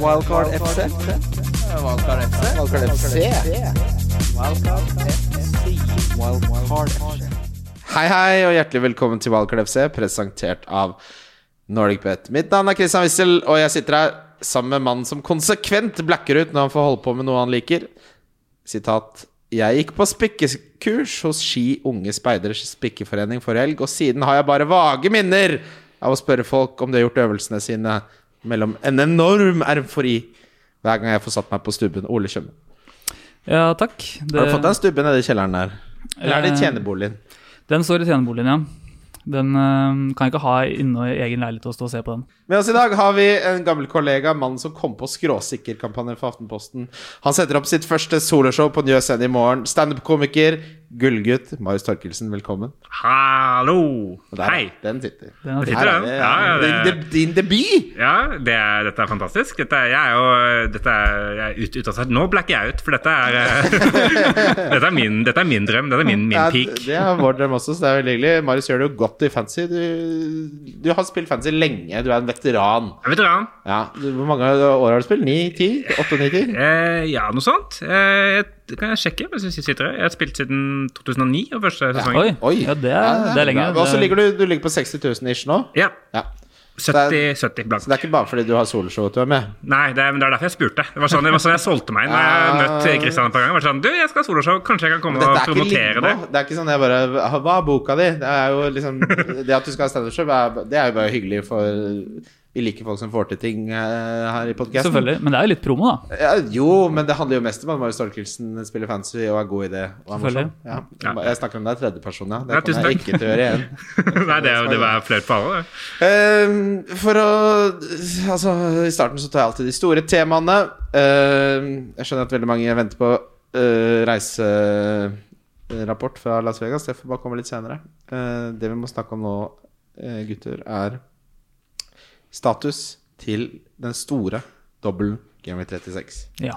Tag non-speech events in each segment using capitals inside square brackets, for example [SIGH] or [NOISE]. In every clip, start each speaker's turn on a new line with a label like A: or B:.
A: Wildcard FC.
B: Valkar FC.
A: Wildcard FC. Wildcard FC.
C: Hei, hei, og hjertelig velkommen til Wildcard FC, presentert av NordicBet. Mitt navn er Christian Wissel, og jeg sitter her sammen med mannen som konsekvent blacker ut når han får holde på med noe han liker. Sitat Jeg gikk på spikkekurs hos Ski Unge Speiders Spikkeforening for helg, og siden har jeg bare vage minner av å spørre folk om de har gjort øvelsene sine mellom en enorm eufori hver gang jeg får satt meg på stubben. Ole Tjøme.
D: Ja, takk. Det,
C: Har du fått deg en stubbe nede i kjelleren der? Eller er det i
D: Eh,
C: tjenerboligen?
D: Den står i tjeneboligen, ja. Den eh, kan jeg ikke ha inne i egen leilighet og stå og se på den.
C: Med oss i dag har vi en gammel kollega, mannen som kom på skråsikkerkampanjen for Aftenposten. Han setter opp sitt første soloshow på Njø Scene i morgen. Standup-komiker, gullgutt Marius Torkelsen, velkommen.
E: Hallo!
C: Og der,
E: Hei!
C: Den sitter.
D: Den har
E: Sitter
C: Her er
E: den?
C: vi,
E: Ja, ja,
C: Din,
E: det-
C: de- din debut!
E: Ja, det er, dette er fantastisk. Dette er, jeg er jo dette er, jeg er ut, utdatert. Nå blacker jeg ut, for dette er, eh, [LAUGHS] dette er, min, dette er min drøm. Dette er min, min
C: Ja,
E: peak.
C: det er vår drøm også, så det er veldig hyggelig. Marius gjør det jo godt i fancy. Du, du har spilt fancy lenge, du er en veteran.
E: Jeg vet du hva?
C: Ja, du- Hvor mange år har du spilt? Ni? Ti? Åtte? Ni? Ti?
E: Eh, ja, noe sånt. Eh, jeg, det kan jeg sjekke? Hvis jeg, sitter her. jeg har spilt siden 2009 og første sesongen.
D: Oi, ja, det er,
C: Ja,
D: det er lenge.
C: bra. Og så
D: Det-
C: ligger du, du ligger på 60 000 ish nå?
E: Ja.
C: Ja.
E: 70, 70
C: Så det
E: blank.
C: er ikke bare fordi du har soloshow at du er med?
E: Nei, det er, men det er derfor jeg spurte. Det var sånn, det var sånn jeg solgte meg inn. Når jeg
C: Ah.
E: møtte Kristian et par ganger. Jeg Var sånn, du, jeg skal ha soloshow. Kanskje jeg kan komme og
C: Dette er ikke
E: promotere det?
C: limbo. Det er ikke sånn jeg bare Hva er boka di? Det er jo
E: [LAUGHS]
C: liksom Det at du skal ha standup-show, er- det er jo bare hyggelig for Vi liker folk som får til ting eh, her i podkasten.
D: Selvfølgelig. Men det er jo litt promo, da.
C: Ja, jo, men det handler jo mest om at Marius Storkelsen spiller fancy og er god i det. Og er morsom.
D: Selvfølgelig.
C: Ja.
E: Ja.
C: Jeg snakker om deg i tredjeperson, ja. Det
E: Ja,
C: kan
E: tusen
C: jeg
E: takk.
C: ikke til å gjøre
E: [LAUGHS]
C: igjen.
E: [LAUGHS] Nei, det, er- det var flaut for alle. det.
C: Ehm, for å Altså, i starten så tar jeg alltid de store temaene. Ehm, jeg skjønner at veldig mange venter på eh, reiserapport fra Las Vegas. Det får bare komme litt senere. Eh, det vi må snakke om nå, eh, gutter, er status til den store dobbelen Game 36.
D: Ja.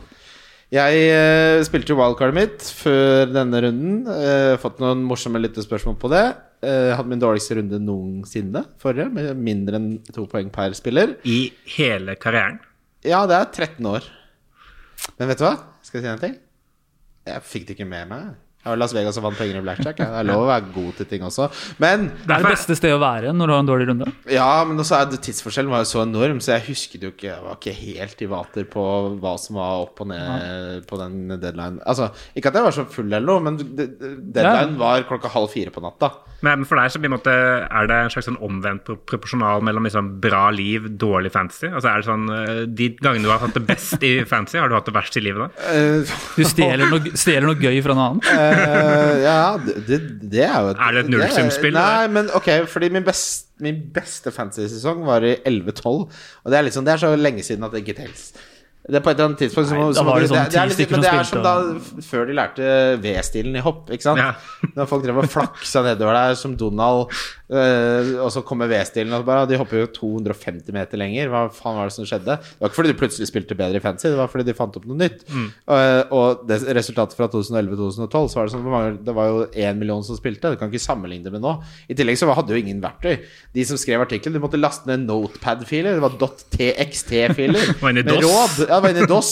C: Jeg eh, spilte jo wildcardet mitt før denne runden. Eh, fått noen morsomme lyttespørsmål på det. Eh, hadde min dårligste runde noensinne forrige, med mindre enn to poeng per spiller.
E: I hele karrieren.
C: Ja, det er 13 år. Men vet du hva? Skal jeg si en ting? Jeg fikk det ikke med meg. Jeg var i Las Vegas og vant penger i blackjack. jeg. Det er lov å være god til ting også. Men
D: Det er det beste stedet å være når du har en dårlig runde.
C: ja, men også er det, tidsforskjellen var jo så enorm, så jeg husket jo ikke Jeg var ikke helt i vater på hva som var opp og ned på den deadline. Altså, ikke at jeg var så full eller noe, men d- d- deadline var klokka halv fire på natta.
E: Men for deg så på en måte, er det en slags sånn omvendt pro- proporsjonal mellom liksom bra liv, dårlig fantasy? Altså er det sånn, eh, De gangene du har hatt det best i fantasy, har du hatt det verst i livet da?
C: Eh,
D: Du stjeler noe, stjeler noe gøy fra en annen.
C: [LAUGHS] eh, ja, det, det- det er jo
E: Er det et nullsumspill,
C: Nei, men ok, fordi min, best, min beste fantasy-sesong var i 11-12, og det er, liksom, det er så lenge siden at det ikke tels. Det er på et eller annet tidspunkt så
D: Nei,
C: må-
D: da
C: så må
D: var
C: du-
D: det sånn
C: det er
D: ti
C: litt-
D: stykker
C: Men det
D: som
C: er som
D: spilte,
C: da
D: og-
C: f- før de lærte V-stilen i hopp, ikke sant?
E: Ja.
C: [LAUGHS] Når folk drev og flaksa nedover der som Donald, eh, og så kommer V-stilen og så bare De hopper jo 250 meter lenger. Hva faen var det som skjedde? Det var ikke fordi de plutselig spilte bedre i fancy, det var fordi de fant opp noe nytt. Eh, og det, resultatet fra 2011-2012, så var det sånn hvor mange, Det var jo én million som spilte. Du kan ikke sammenligne det med nå. I tillegg så hadde jo ingen verktøy. De som skrev artikkelen, de måtte laste ned notepad-filer. Det var .txt-filer.
E: [LAUGHS] Var inne i
C: med
E: DOS.
C: råd. Ja, det var inne i DOS.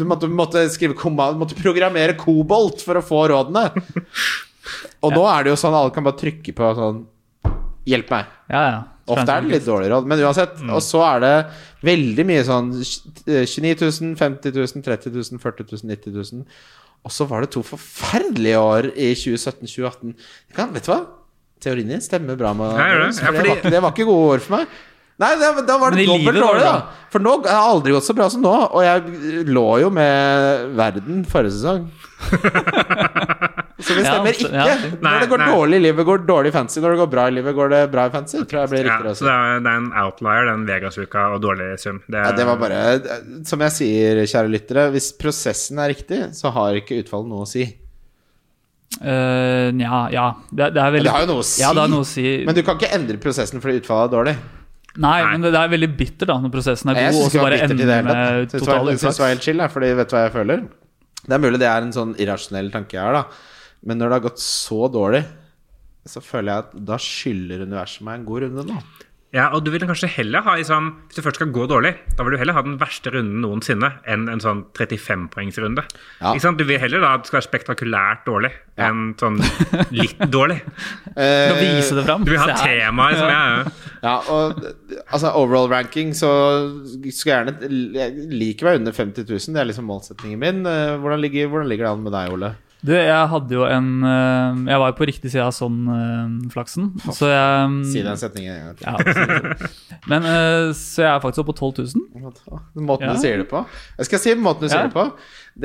C: Du måtte, måtte skrive komma- Du måtte programmere kobolt for å få rådene. Og nå er det jo sånn alle kan bare trykke på sånn Hjelp meg.
D: Ja, ja.
C: Ofte er det litt dårlig råd, men uansett.
E: Mm.
C: Og så er det veldig mye sånn eh, 29 000, 50 000, 30 000, 40 000, 90 000. Og så var det to forferdelige år i 2017-2018. Vet du hva? Teorien din stemmer bra med
E: Ja, gjør det. Ja,
C: for det,
E: fordi-
C: var ikke, det var ikke gode år for meg. Nei, det, da var
D: Men
C: det
D: i
C: dobbelt
D: livet var
C: dårlig,
D: det
C: da.
D: bra.
C: For nå jeg har aldri gått så bra som nå. Og jeg lå jo med verden forrige
E: [LAUGHS]
C: sesong. Så det
D: Ja,
C: stemmer
D: så-
C: ikke.
D: ja.
E: Nei,
C: Når det går
E: nei.
C: dårlig i livet, går dårlig i fancy. Når det går bra i livet, går det bra i fancy. Tror jeg blir
E: Ja,
C: riktigere å si.
E: så det er, det er en outlier, den Vegas-uka og dårlig sum. Det,
C: Ja, det var bare Som jeg sier, kjære lyttere, hvis prosessen er riktig, så har ikke utfallet noe å si.
D: Eh, Nja, ja. Det, det er veldig
C: Det har jo noe å si.
D: Ja, det har noe å si.
C: Men du kan ikke endre prosessen fordi utfallet er dårlig.
D: Nei, men det, det er veldig bitter, da, når prosessen er
C: Nei, Jeg
D: god, og
C: syns
D: så
C: ikke
D: bare
C: det var bittert i det
D: ender
C: hele tatt.
D: med
C: Syns det var-
D: total
C: syns det var helt
D: uflaks.
C: chill, jeg, fordi vet du hva jeg føler? Det er mulig det er en sånn irrasjonell tanke jeg har, da. Men når det har gått så dårlig, så føler jeg at da skylder universet meg en god runde nå.
E: Ja, og du vil kanskje heller ha liksom, Hvis du først skal gå dårlig, da vil du heller ha den verste runden noensinne enn en sånn 35-poengsrunde.
C: Ja.
E: Ikke sant? Du vil heller da at det skal være spektakulært dårlig
C: Ja.
E: enn sånn litt dårlig.
D: For å vise det fram.
E: Du vil
D: [LAUGHS]
E: ha
D: Se her.
E: temaer som jeg
C: Ja, og altså overall ranking, så skulle jeg gjerne Jeg liker meg under 50 000, det er liksom målsettingen min. Eh, Hvordan ligger, hvordan ligger det an med deg, Ole?
D: Du, jeg hadde jo en eh, Jeg var jo på riktig side av sånn-flaksen, så
C: [LAUGHS]
D: jeg mm,
C: Si den setningen en gang til.
D: Ja, absolutt. Men eh, så jeg er faktisk oppe på 12 000.
C: Den måten
D: Ja.
C: du sier det på. Jeg skal si måten du sier
D: Ja.
C: det på.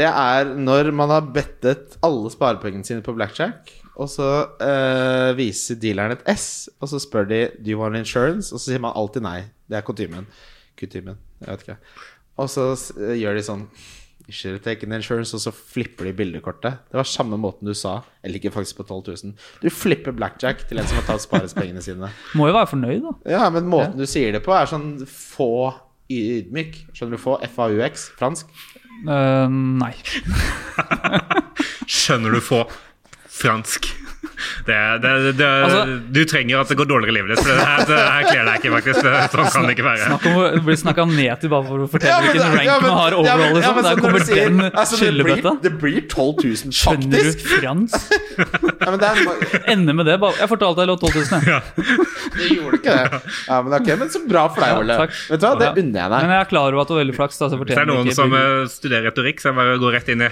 C: Det er når man har bettet alle sparepengene sine på blackjack, og så eh, viser dealeren et S, og så spør de Do you want insurance? Og så sier man alltid nei. Det er kutymen. Kutymen. Jeg vet ikke. Og så s- gjør de sånn Ikke take an insurance, og så flipper de bildekortet. Det var samme måten du sa. Jeg ligger faktisk på 12 000. Du flipper blackjack til en som har tatt sparepengene sine.
D: Må jo være fornøyd, da.
C: Ja, men måten du sier det på er sånn få ydmyk. Skjønner du? Få FAUX, fransk.
D: Eh, nei.
E: er Skjønner du få fransk? Det, det, det,
D: Altså-
E: du trenger at det går dårligere i livet ditt, for det her, det her kler deg ikke, faktisk. Det, sånn kan det ikke være.
D: Snakk om å bli snakka ned til bare for å fortelle
C: det-
D: hvilken rank
C: ja, men-
D: man har
C: ja,
D: overall.
C: men- ja,
D: liksom.
C: men
D: Der
C: sånn når
D: kommer
C: du sier-
D: den
C: altså, det blir-
D: skyllebøtta.
C: Det blir 12 000,
D: Skjønner
C: faktisk.
D: du fransk?
C: Ja, men det, er, det
D: Ende med det. bare Jeg fortalte deg lå 12
E: [LAUGHS]
D: 000, jeg.
C: gjorde ikke det. Ja, men, ok, men så bra for deg, Ole.
D: takk.
C: Vet du hva, det unner jeg deg.
D: Men jeg er klar over at det var veldig flaks. Da, så jeg
E: Hvis det er
D: fortjener
E: noen
D: ikke-
E: som eh, studerer retorikk, så er det bare å gå rett inn i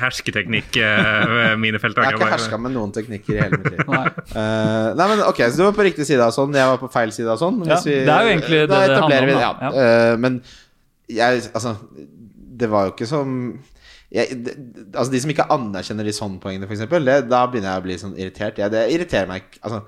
E: eh, hersketeknikk-mine felt.
C: Jeg har ikke
E: akkurat.
C: herska med noen teknikker i hele mitt liv.
D: Nei.
C: Eh, nei, men ok, Så du var på riktig side av sånn, jeg var på feil side av sånn.
D: Ja,
C: Hvis vi-
D: det er jo egentlig det
C: da
D: det
C: etablerer
D: handler om,
C: vi-
D: da.
C: Ja. eh, men jeg Altså, det var jo ikke som jeg, det, altså De som ikke anerkjenner de sånn poengene, for eksempel det, da begynner jeg å bli sånn irritert. Jeg, det irriterer meg ikke. Altså,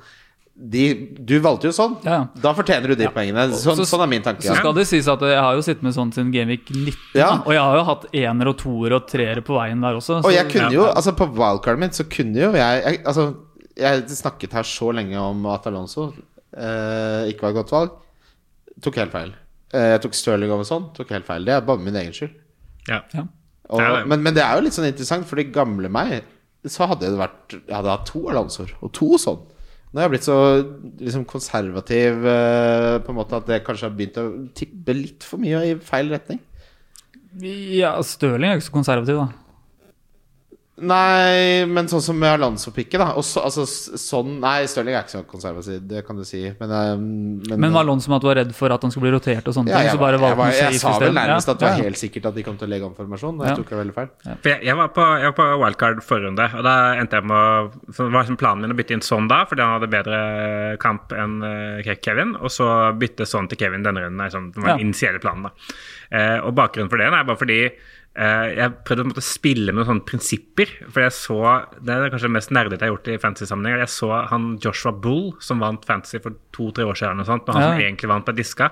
C: de, du valgte jo sånn.
D: Ja.
C: Da fortjener du de poengene. Sånn,
D: Så-
C: sånn er min tanke. Ja.
D: Så skal det sies at jeg har jo sittet med sånn siden Gameweek 19,
C: Ja.
D: da, og jeg har jo hatt ener og toer og treere på veien der også.
C: Og
D: så-
C: jeg kunne jo, altså på wildcardet mitt så kunne jo jeg, jeg Altså, jeg snakket her så lenge om at Alonso eh, ikke var et godt valg. Tok helt feil. Eh, jeg tok Stirling over sånn. Tok helt feil. Det er bare min egen skyld.
E: Ja.
D: Ja.
C: Og,
E: Ja, det er-
C: men, men det er jo litt sånn interessant, for de gamle meg så hadde det vært Jeg hadde hatt to Alonsoer, og to sånn. Nå har jeg blitt så liksom, konservativ eh, på en måte at det kanskje har begynt å tippe litt for mye i feil retning.
D: Ja, Stirling er jo ikke så konservativ, da.
C: Nei, men sånn som med Alonso-pikket, da. Og så, altså, s- sånn Nei, Stirling er ikke så konservativ, det kan du si. Men, eh,
D: Men var Alonso med at du var redd for at han skulle bli rotert og sånne
C: ja,
D: ting?
C: jeg,
D: så bare
C: var- jeg,
D: valgte
C: var,
D: han
C: jeg
D: safe
C: sa vel
D: isteden?
C: nærmest
D: Ja,
C: at det var
D: ja.
C: helt sikkert at de kom til å legge om formasjon. og Jeg
D: Ja.
C: tok det veldig feil.
E: For jeg, jeg, var på, jeg var på wildcard forrige runde, og da endte jeg med å så var liksom planen min å bytte inn sånn da, fordi han hadde bedre kamp enn eh, Kevin, og så bytte sånn til Kevin denne runden. er Liksom, det var den
D: Ja.
E: initielle planen, da. Eh, og bakgrunnen for det er bare fordi eh, jeg prøvde å på en måte spille med noen sånne prinsipper. For jeg så Det er kanskje det mest nerdete jeg har gjort i fantasy-sammenheng. Jeg så han Joshua Bull, som vant fantasy for to-tre år siden, og sånt, og han som
D: Ja.
E: egentlig vant på diska.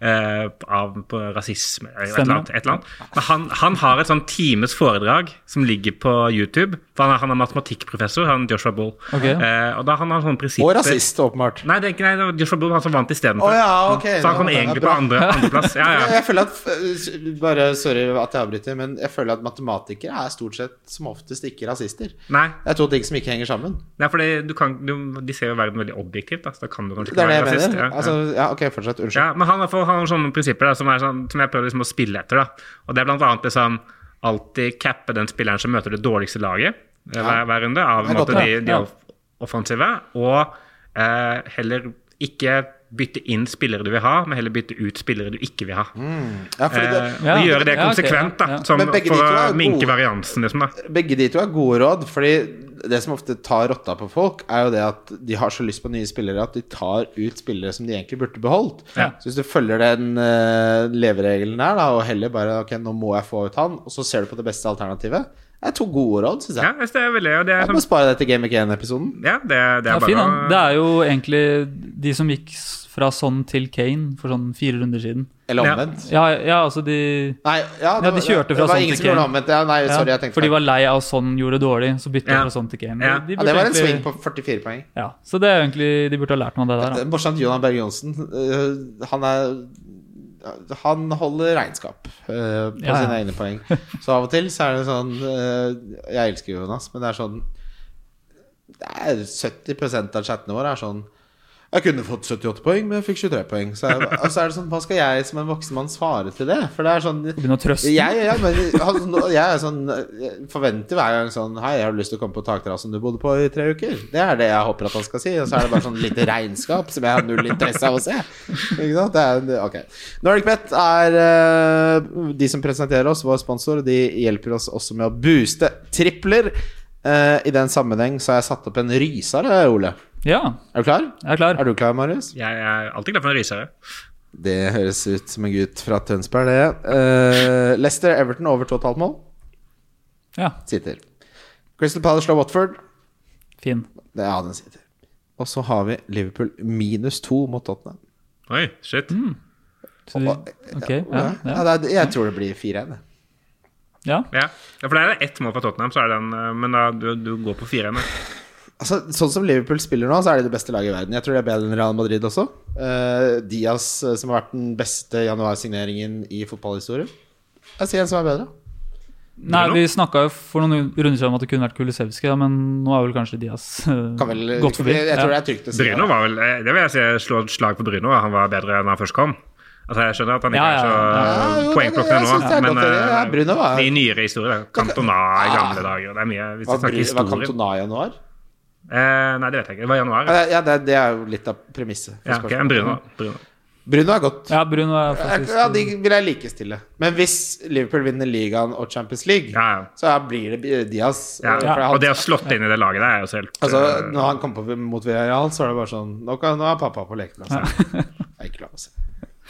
E: eh, av på rasisme eller et
D: Stemmer.
E: eller annet et eller annet. Men han, han har et sånn times foredrag som ligger på YouTube. For han er, han er matematikkprofessor, han Joshua Bull.
D: Ok.
E: Eh, og da han har sånne prinsipper
C: Og rasist, åpenbart.
E: Nei, det er ikke, nei, det var Joshua Bull var han som vant istedenfor.
C: Å ja, ok.
E: Så han kom
C: Ja, det er
E: egentlig på
C: bra.
E: andre, andreplass.
C: [LAUGHS]
E: Ja, ja.
C: Jeg føler at eh, Bare sorry at jeg avbryter, men jeg føler at matematikere er stort sett som oftest ikke rasister.
E: Nei,
C: Det er to ting som ikke henger sammen.
E: nei fordi du kan, du, de ser jo verden veldig objektivt, da, så da kan du kanskje
C: Det
E: ikke
C: er det
E: være
C: jeg
E: rasist.
C: mener. Altså, ja, ok, fortsett. Unnskyld.
E: Ja, men han har, for- han har sånne prinsipper da, som, er sånn, som jeg prøver liksom å spille etter. Da. Og det er blant annet liksom, alltid cappe den spilleren som møter det dårligste laget eh, hver, hver runde, av
C: Det er
E: på en måte,
C: godt, ja.
E: de, de
D: Ja.
E: off- offensive. Og eh, heller ikke bytte inn spillere du vil ha, men heller bytte ut spillere du ikke vil ha.
C: Ja, fordi det,
E: Eh,
D: Ja,
E: Og gjøre det
D: ja, ok,
E: konsekvent,
D: ja,
E: da,
D: ja.
E: som,
C: Men begge de to
E: for å
C: er
E: minke
C: gode.
E: variansen. Liksom, da.
C: Begge de to er gode råd, fordi det som ofte tar rotta på folk, er jo det at de har så lyst på nye spillere at de tar ut spillere som de egentlig burde beholdt.
E: Ja.
C: Så hvis du følger den eh, leveregelen her, da, og heller bare Ok, nå må jeg få ut han, og så ser du på det beste alternativet, det er to gode råd, syns jeg.
E: Ja, jeg synes det er veldig, og det er,
C: Jeg må
E: sånn,
C: spare deg til Game of Game-episoden.
E: ja, det, det
D: Ja,
E: er
D: fin,
E: bare
D: han. Det er jo egentlig de som gikk s- fra sånn til Kane for sånn fire runder siden.
C: Eller
E: Ja.
C: omvendt.
D: Ja, ja altså de
C: Nei, ja,
D: Ja, de kjørte fra
C: det var
D: sånn
C: ingen
D: til
C: som gjorde
D: Kane.
C: omvendt. Ja, nei,
D: ja,
C: Eh, sorry, jeg tenkte
D: For de
C: feil.
D: var lei av sånn gjorde det dårlig, så bytta de
E: Ja.
D: fra sånn til Kane.
E: Ja.
D: De
C: ja, Det var en
D: egentlig-
C: swing på 44 poeng.
D: Ja, så det er jo egentlig De burde ha lært noe av det der.
C: Det er
D: Da.
C: Eh, Morsomt, Johan Berg Johnsen. øh, han er Han holder regnskap øh, på
D: Ja, ja.
C: sine egne poeng. Så av og til så er det sånn øh, Jeg elsker Jonas, men det er sånn Det er 70 av chattene våre er sånn Jeg kunne fått 78 poeng, men jeg fikk 23 poeng. Så, jeg, og så er det sånn, hva skal jeg som en voksen mann svare til det? For det er sånn
D: Begynne å trøste.
C: jeg, ja, men, han- nå- jeg er sånn jeg forventer hver gang sånn Hei, jeg har lyst til å komme på takterrassen du bodde på i tre uker. Det er det jeg håper at han skal si. Og så er det bare sånn lite regnskap som jeg har null interesse av å se. Ikke sant? Det er, ok. Nordic Bet er eh, de som presenterer oss, vår sponsor. De hjelper oss også med å booste tripler. Eh, I den sammenheng så har jeg satt opp en ryser, eh, Ole.
D: Ja,
C: Er du klar?
D: jeg er klar.
C: Er du klar, Marius?
E: Jeg er alltid glad for en rysere.
C: Det høres ut som en gutt fra Tønsberg, det. Eh, Leicester Everton over 2,5 mål.
D: Ja,
C: Sitter. Crystal Palace slår Watford.
D: fin.
C: Det, ja, den sitter. Og så har vi Liverpool minus to mot Tottenham.
E: Oi, shit.
D: Så du, ok,
C: eh,
D: ja,
C: Ja,
D: ja.
C: det er- jeg tror det blir 4-1. jeg.
D: ja.
E: Ja. ja, for det er ett mål fra Tottenham, så er den eh, Men da, du, du går på 4-1. da.
C: Altså, sånn som Liverpool spiller nå, så er de det beste laget i verden. Jeg tror det er bedre enn Real Madrid også. Eh, Diaz, eh, som har vært den beste januarsigneringen i fotballhistorie. Jeg sier en som er bedre.
D: Nei,
E: Bruno?
D: vi snakka jo for noen runder siden om at det kunne vært Kulisevskij, ja, men nå er vel kanskje Diaz eh,
C: Kan vel,
D: gått forbi.
C: Jeg, tror det
D: ja.
C: er trygt å si.
E: Bruno
C: det.
E: var vel eh, Det vil jeg si slå et slag for Bruno. Han var bedre enn han først kom. Altså, Jeg skjønner at han ikke
D: Ja, ja,
E: er
C: ja.
E: så
C: Ja, jo, det- jeg
E: poengplukkende
C: synes det er
E: nå, men
C: godt, det. Ja,
E: eh,
C: Bruno var- Ah.
E: det er nyere historier. Cantona i gamle dager. Det er mye Hvis
C: Var, Bru-
E: vi snakker
C: var
E: historie
C: Cantona i januar?
E: eh, Nei, det vet jeg ikke. Det var i januar.
C: Ja, det, det er jo litt av premisset. for
E: Ja, ok,
C: spørsmålet.
E: Bruno. Bruno.
C: Bruno er godt.
D: ja, Bruno er faktisk
C: Ja, de vil jeg likestille. Men hvis Liverpool vinner ligaen og Champions League,
E: Ja, ja.
C: så blir det Diaz. eh,
E: Ja,
C: For han-
E: Og det å slått inn i det laget der er jo så helt
C: altså,
E: eh,
C: når han kom på mot Villarreal, så var det bare sånn Nå, kan, nå er pappa på lekeplassen. Det er ikke lov å si.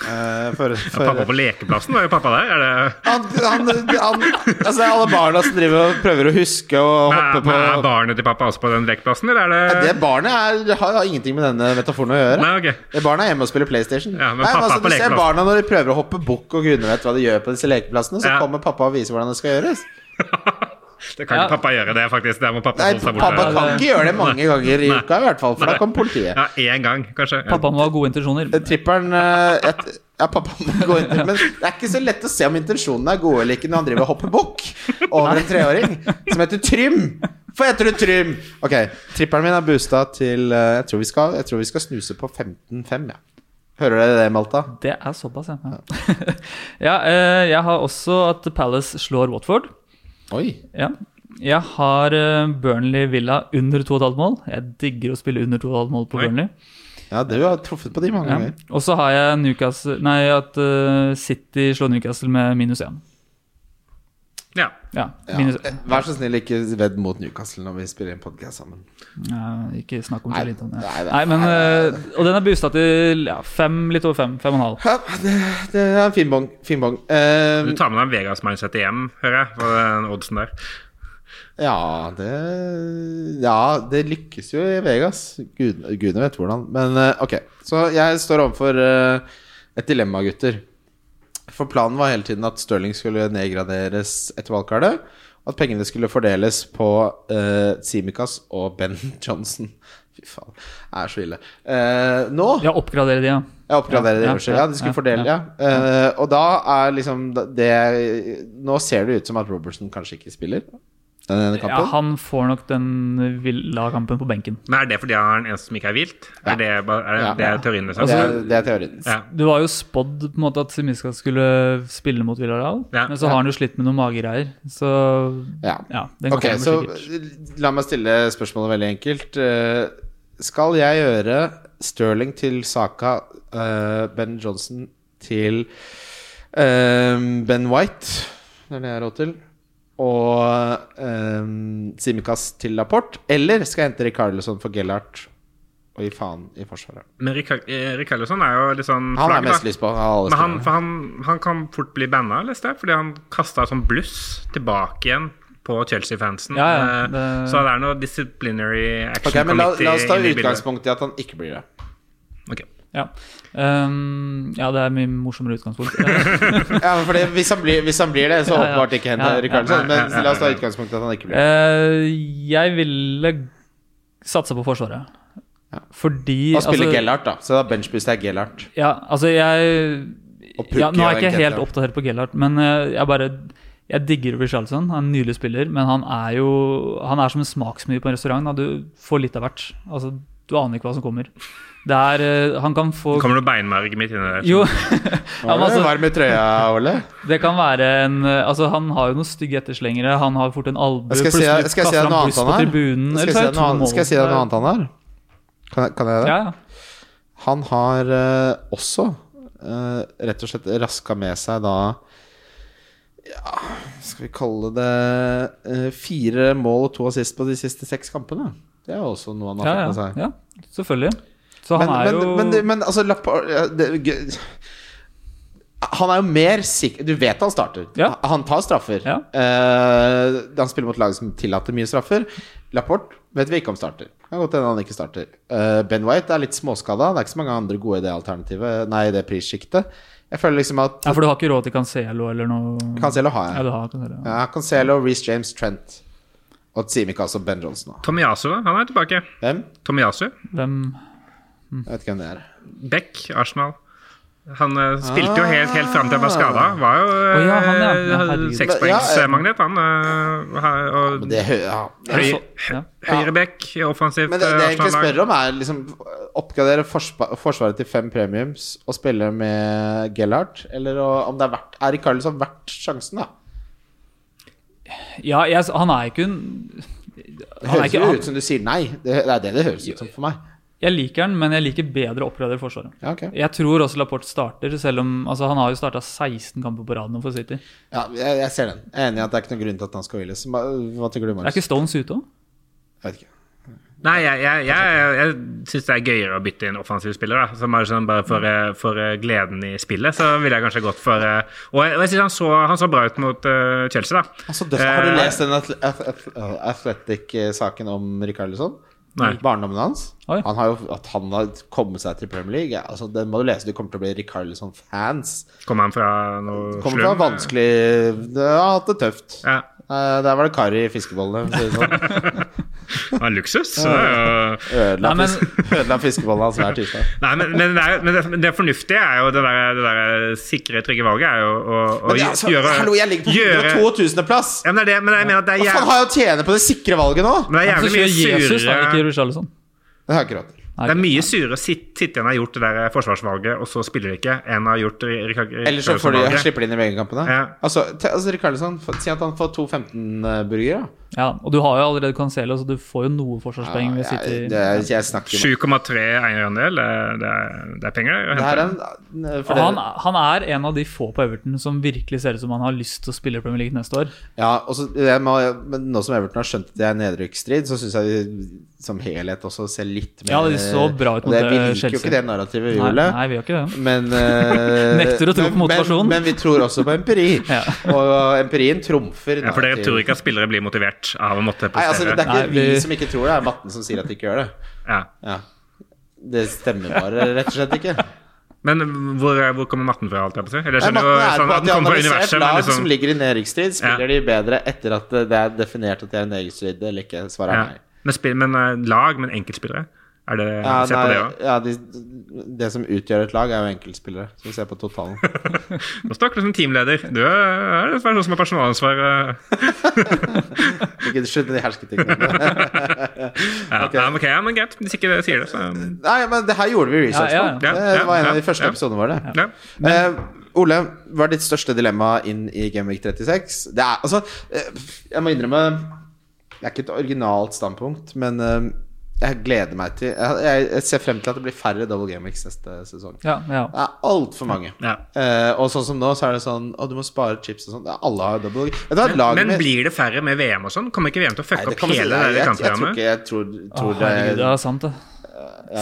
C: Eh, for, for,
E: Pappa på lekeplassen var jo pappa der. Er det
C: han, han, han, altså, det er alle barna som driver og prøver å huske og
E: er,
C: hoppe på
E: er barnet til pappa også på den lekeplassen, eller er det,
C: Det barnet er, det har ingenting med denne metaforen å gjøre.
E: Nei, ok.
C: Det Barna er hjemme og spiller PlayStation.
E: Ja, men
C: Nei, men
E: pappa
C: altså,
E: er på
C: du ser
E: lekeplass.
C: barna når de prøver å hoppe bukk og gudene vet hva de gjør på disse lekeplassene, så
E: Ja.
C: kommer pappa og viser hvordan det skal gjøres.
E: Det kan
D: Ja.
E: ikke pappa gjøre, det, faktisk. Der må pappa
C: Nei,
E: holde seg
C: pappa
E: borte.
C: kan ikke gjøre det mange ganger i uka, i hvert fall, for da kom politiet.
E: Ja, én gang, kanskje. Ja.
D: Pappa må ha gode intensjoner.
C: Tripperen eh, et, Ja, pappa må gå inn til Men det er ikke så lett å se om intensjonene er gode eller ikke når han driver og hopper bukk over en treåring som heter Trym. For heter du Trym? Ok, tripperen min er boosta til eh, jeg, tror vi skal, jeg tror vi skal snuse på 15-5, ja. Hører dere det, Malta?
D: Det er såpass, ja. ja. [LAUGHS] ja eh, jeg har også at Palace slår Watford.
C: Oi.
D: Ja. Jeg har eh, Burnley Villa under 2,5 mål. Jeg digger å spille under 2,5 mål på
E: Oi.
D: Burnley.
C: Ja, du har truffet på de mange
D: Ja.
C: ganger.
D: Og så har jeg Newcastle, nei, at eh, City slår Newcastle med minus 1.
E: Ja.
D: Ja,
C: Ja.
D: minus,
C: eh, Vær så snill, ikke vedd mot Newcastle når vi spiller inn podcast sammen.
D: Nei, ikke snakk om
C: Nei,
D: Charlton. Nei,
C: nei,
D: nei,
C: det-
D: men eh, Og den er boosta til ja, fem, litt over fem. Fem og en halv.
C: Ja, det, det er en fin bong. Fin bong. Eh,
E: Du tar med deg Vegas-mindsetet hjem, hører jeg, for den oddsen der.
C: ja, det Ja, det lykkes jo i Vegas. Gud, gudene vet hvordan. Men eh, ok, så jeg står overfor eh, et dilemma, gutter. For planen var hele tiden at Stirling skulle nedgraderes etter valgkartet. Og at pengene skulle fordeles på uh, Simikas og Ben [LAUGHS] Johnson. Fy faen, det er så ille. Eh, nå
D: Ja, oppgradere de, ja.
C: Jeg oppgraderer det,
D: Ja, ja,
C: unnskyld. Ja, de skulle
D: ja,
C: fordele, ja.
D: ja.
C: Eh, og da er liksom det Nå ser det ut som at Robertson kanskje ikke spiller den ene
D: ja.
C: kampen.
D: Han får nok den Villa-kampen på benken.
E: Men er det fordi han er den eneste som ikke er vilt? Er det, ba- er det,
C: Ja.
E: det er teorien, liksom?
D: Altså-
C: det, er, det er teorien.
E: Ja.
D: Det var jo spådd på en måte at Simiska skulle spille mot Villarreal,
E: Ja.
D: men så har han jo slitt med noen magegreier. Så
C: Ja.
D: ja, den
C: Ok,
D: kampen
C: så
D: blir sikkert.
C: la meg stille spørsmålet veldig enkelt. Eh, skal jeg gjøre Sterling til Saka, eh, Ben Johnson til eh, Ben White, det er det jeg har råd til, og um, Simikaz til Lapport, eller skal jeg hente Rikarlison for Gellert og gi faen i Forsvaret?
E: Men Rikarlison er jo litt sånn
C: Han
E: flagg,
C: har jeg mest
E: da.
C: lyst på. av alle
E: Men han,
C: spillere.
E: for han, han kan fort bli banna, leste jeg, fordi han kasta sånn bluss tilbake igjen på Chelsea-fansen.
D: Ja, ja,
E: Eh,
D: det-
E: Så det er noe disciplinary action
C: Ok, men la, la oss ta
E: inn i bildet.
C: utgangspunkt i at han ikke blir det.
E: Ok.
D: Ja. Um, ja, det er mye morsommere utgangspunkt. [LAUGHS] Ja.
C: Ja, men fordi hvis, han blir, hvis han blir det, så
D: Ja, ja.
C: åpenbart ikke hente
D: Ja, ja.
C: Rikarlison.
E: Ja, ja,
C: Men
E: ja,
C: la oss ta
E: ja.
C: utgangspunkt i at han ikke blir det.
D: Eh, jeg ville satsa på Forsvaret. Fordi
C: Og spiller
D: altså-
C: Gellert, da. Så da benchboost er Gellert.
D: Ja, altså jeg
C: Og Pukki
D: ja,
C: og
D: Nå er jeg ikke
C: Nketiah.
D: helt oppdatert på Gellert, men eh, jeg bare Jeg digger Richarlison. Han er en nydelig spiller, men han er jo Han er som en smaksmeny på en restaurant. Da. Du får litt av hvert. Altså, Du aner ikke hva som kommer. Det er eh, Han kan få
E: Kommer noe beinmarg midt inni der?
D: [LAUGHS] Jo.
C: Var
D: [LAUGHS] Ja, men
C: du
D: altså,
C: varm i trøya, Ole?
D: det kan være en eh, Altså, han har jo noen stygge etterslengere. Han har fort en albue.
C: Skal jeg si skal
D: plutselig
C: jeg si
D: kaster
C: deg
D: han
C: noe
D: pluss
C: annet han
D: på
C: har?
D: tribunen,
C: Skal
D: eller
C: jeg si deg noe
D: tar to mål.
C: annet- skal jeg si deg noe annet han har? Kan jeg, kan jeg det?
D: Ja, ja.
C: Han har eh, også eh, rett og slett raska med seg da Ja, skal vi kalle det eh, fire mål og to assist på de siste seks kampene? Det er jo også noe han har
D: Ja,
C: fått med
D: ja,
C: seg.
D: ja. Selvfølgelig. Så
C: Men,
D: han er
C: men,
D: jo
C: men, men, altså Lappard ja, det- gø- Han er jo mer sikker Du vet han starter.
D: Ja.
C: Han tar straffer.
D: Ja.
C: Eh, han spiller mot lag som tillater mye straffer. Lapport vet vi ikke om starter. Kan godt hende han ikke starter. Eh, ben White er litt småskada. Det er ikke så mange andre gode i det alternativet Nei, i det prissjiktet. Jeg føler liksom at
D: Ja, for du har ikke råd til Cancelo eller noe
C: Cancelo har
D: Ja,
C: jeg.
D: du har Cancelo. Ja.
C: Ja, Cancelo, Reece James, Trent og Tsimikas og Ben Johnson. da.
E: Tomiyasu, da? Han er tilbake.
C: Hvem?
E: Tomiyasu.
D: Hvem
C: Jeg vet ikke hvem det er.
E: Beck, Arsenal. Han eh, spilte jo helt, helt fram til han var skada. Var jo eh,
D: Å, ja, han, ja. Ja, herregud.
E: sekspoengsmagnet, han. eh, ha-
C: Men
E: og
C: det, er hø- ja.
E: høy,
D: Ja.
E: høyre Beck, offensivt eh,
C: Men det, det jeg egentlig
E: Arsenal-lag.
C: spør om, er liksom oppgradere forspa, Forsvaret til fem premiums og spille med Gellhardt, eller å, om det er verdt Er Rikarlison verdt sjansen, da?
D: ja jeg, han er jo ikke en
C: Det
D: han er
C: høres
D: ikke,
C: jo
D: han,
C: ut som du sier nei. Det, det er det det høres ut som for meg.
D: Jeg liker han, men jeg liker bedre å oppgradere Forsvaret.
C: Ja, ok.
D: Jeg tror også Laporte starter, selv om altså, han har jo starta 16 kamper på rad nå for City. Er
C: Ja, jeg, jeg ser den. Jeg er enig i at det er ikke noen grunn til at han skal hviles. Hva, hva tenker du, Marius?
D: ikke Stones ute òg?
C: Jeg vet ikke.
E: Nei, jeg, jeg, jeg, jeg syns det er gøyere å bytte inn offensiv spiller. Da. Så bare, sånn, bare for, eh, for eh, gleden i spillet, så ville jeg kanskje gått for eh, Og jeg, og jeg syns han, så- han så bra ut mot eh, Chelsea, da.
C: Altså, døff, har du
E: Eh,
C: lest den atle- ath- ath- Athletic-saken om Rikarlison?
E: Nei.
C: Barndommen hans?
D: Oi.
C: Han har jo, at han har kommet seg til Premier League ja, altså, Den må du lese. Du kommer til å bli Rikarlison-fans.
E: Kom han fra noe
C: Kommer fra vanskelig Det har hatt det tøft.
E: Ja,
C: Eh, Der var det kar i fiskebollene. for å si det sånn.
E: [LAUGHS] det var luksus. Så, det er jo-
C: Ødela,
D: Nei, men-
C: fis ødela fiskebollene hans hver tirsdag.
E: Nei, men, men, det, er, jo- men det, men det fornuftige er jo det der, det der sikre, trygge valget er jo å, å
C: Men det, er altså,
E: gjøre
C: hallo, jeg ligger på
E: gjøre-
C: 102.000. plass!
E: ja, men det er det, men jeg mener at det er
C: Hva faen
E: jævlig,
C: har jeg å tjene på det sikre valget nå?
E: men det er
D: Så
E: jævlig
D: kjører
E: mye
D: Jesus, da, ikke
E: surere
D: Richarlison.
C: Det har jeg ikke råd til.
D: Nei,
E: det er
D: ok.
E: mye surere å sit- sitte igjen og ha gjort det der forsvarsvalget, og så spiller de ikke, enn å ha gjort Ri- Rikard-
C: Eller så får de,
E: Richarlison-valget.
C: slipper de inn i VG-kampene.
E: Ja.
C: Altså, te- altså Rikarlison, f- si at han får eh, 2.15-burgere.
D: Ja, og du har jo allerede Cancelo, så du får jo noe forsvarspoeng ved City.
C: jeg, jeg, jeg snakker om
E: 7,3 eierandel, eh, det er, det er penger å
C: det her er
E: hente.
C: en, for
D: han,
C: dere-
D: han er en av de få på Everton som virkelig ser ut som han har lyst til å spille i Premier League neste år.
C: Ja, og så- jeg må, men nå som Everton har skjønt at det er nedrykksstrid, så syns jeg vi som helhet også ser litt mer
D: Ja, de så bra ut
C: Og
D: mot,
C: det- Vi
D: eh,
C: liker jo
D: Chelsea.
C: ikke det narrativet,
D: Nei,
C: Jule.
D: nei, vi gjør ikke det.
C: Men
D: [LAUGHS]
C: eh,
D: Nekter å tro på
C: men-
D: motivasjon.
C: Men, men vi tror også på empiri.
D: [LAUGHS] Ja.
C: Og empirien trumfer.
E: Ja, for dere
C: narrativ.
E: tror ikke at spillere blir motivert av å måtte
C: Nei, altså, det er
E: prestere?
C: ikke
D: Nei, vi-
C: vi som ikke tror det, det er matten som sier at de ikke gjør det.
E: Ja.
C: Ja. Det stemmer bare rett og slett ikke.
E: Men hvor, hvor kommer matten fra, alt jeg på å si? Eller jeg
C: Nei, matten er
E: skjønner jo sånn
C: på
E: at
C: at de
E: den kommer fra
C: analyserer et
E: universet, men
C: lag som
E: liksom
C: ligger i nedrykksstrid,
E: Ja.
C: spiller de bedre etter at det er definert at det er nedrykksstrid eller ikke. Svaret
E: ja.
C: er nei.
E: men, spill, men eh, lag, men enkeltspillere? Er det,
C: Ja,
E: Se på
C: nei,
E: det
C: [LAUGHS]
E: òg.
C: ja de, det som utgjør et lag, er jo enkeltspillere. Så vi ser på
E: [LAUGHS]
C: totalen.
E: Nå snakker du som teamleder. Du er, er en person som har personalansvar. eh.
C: Ikke slutt med de hersketeknikkene. [LAUGHS]
E: Ja, nei, men ok, ja, men greit. Hvis ikke det sier det, så um,
C: Nei, men det her gjorde vi research på.
D: Ja, ja,
E: ja.
C: Det, det var en av
E: Ja,
C: de første
E: ja.
C: episodene våre. det.
E: ja.
C: Eh, Ole, hva er ditt største dilemma inn i Gameweek 36? Det er, altså, eh, jeg må innrømme Det er ikke et originalt standpunkt, men eh, jeg gleder meg til jeg, jeg, jeg ser frem til at det blir færre double gameweeks neste sesong.
D: Ja, ja.
C: Det er altfor mange.
E: Ja.
C: Eh, og sånn som nå, så er det sånn Å, du må spare chips og sånn. Ja, Alle har double Vet du hva, laget
E: Men
C: mitt-
E: blir det færre med VM og sånn? Kommer ikke VM til å
C: Nei,
E: fucke
C: det
E: opp
C: kommer til-
E: hele
C: jeg,
E: det
C: jeg, jeg tror
E: kampprogrammet?
C: ikke Jeg tror,
D: Å,
C: tror
D: herregud, det er sant, det.
C: jeg-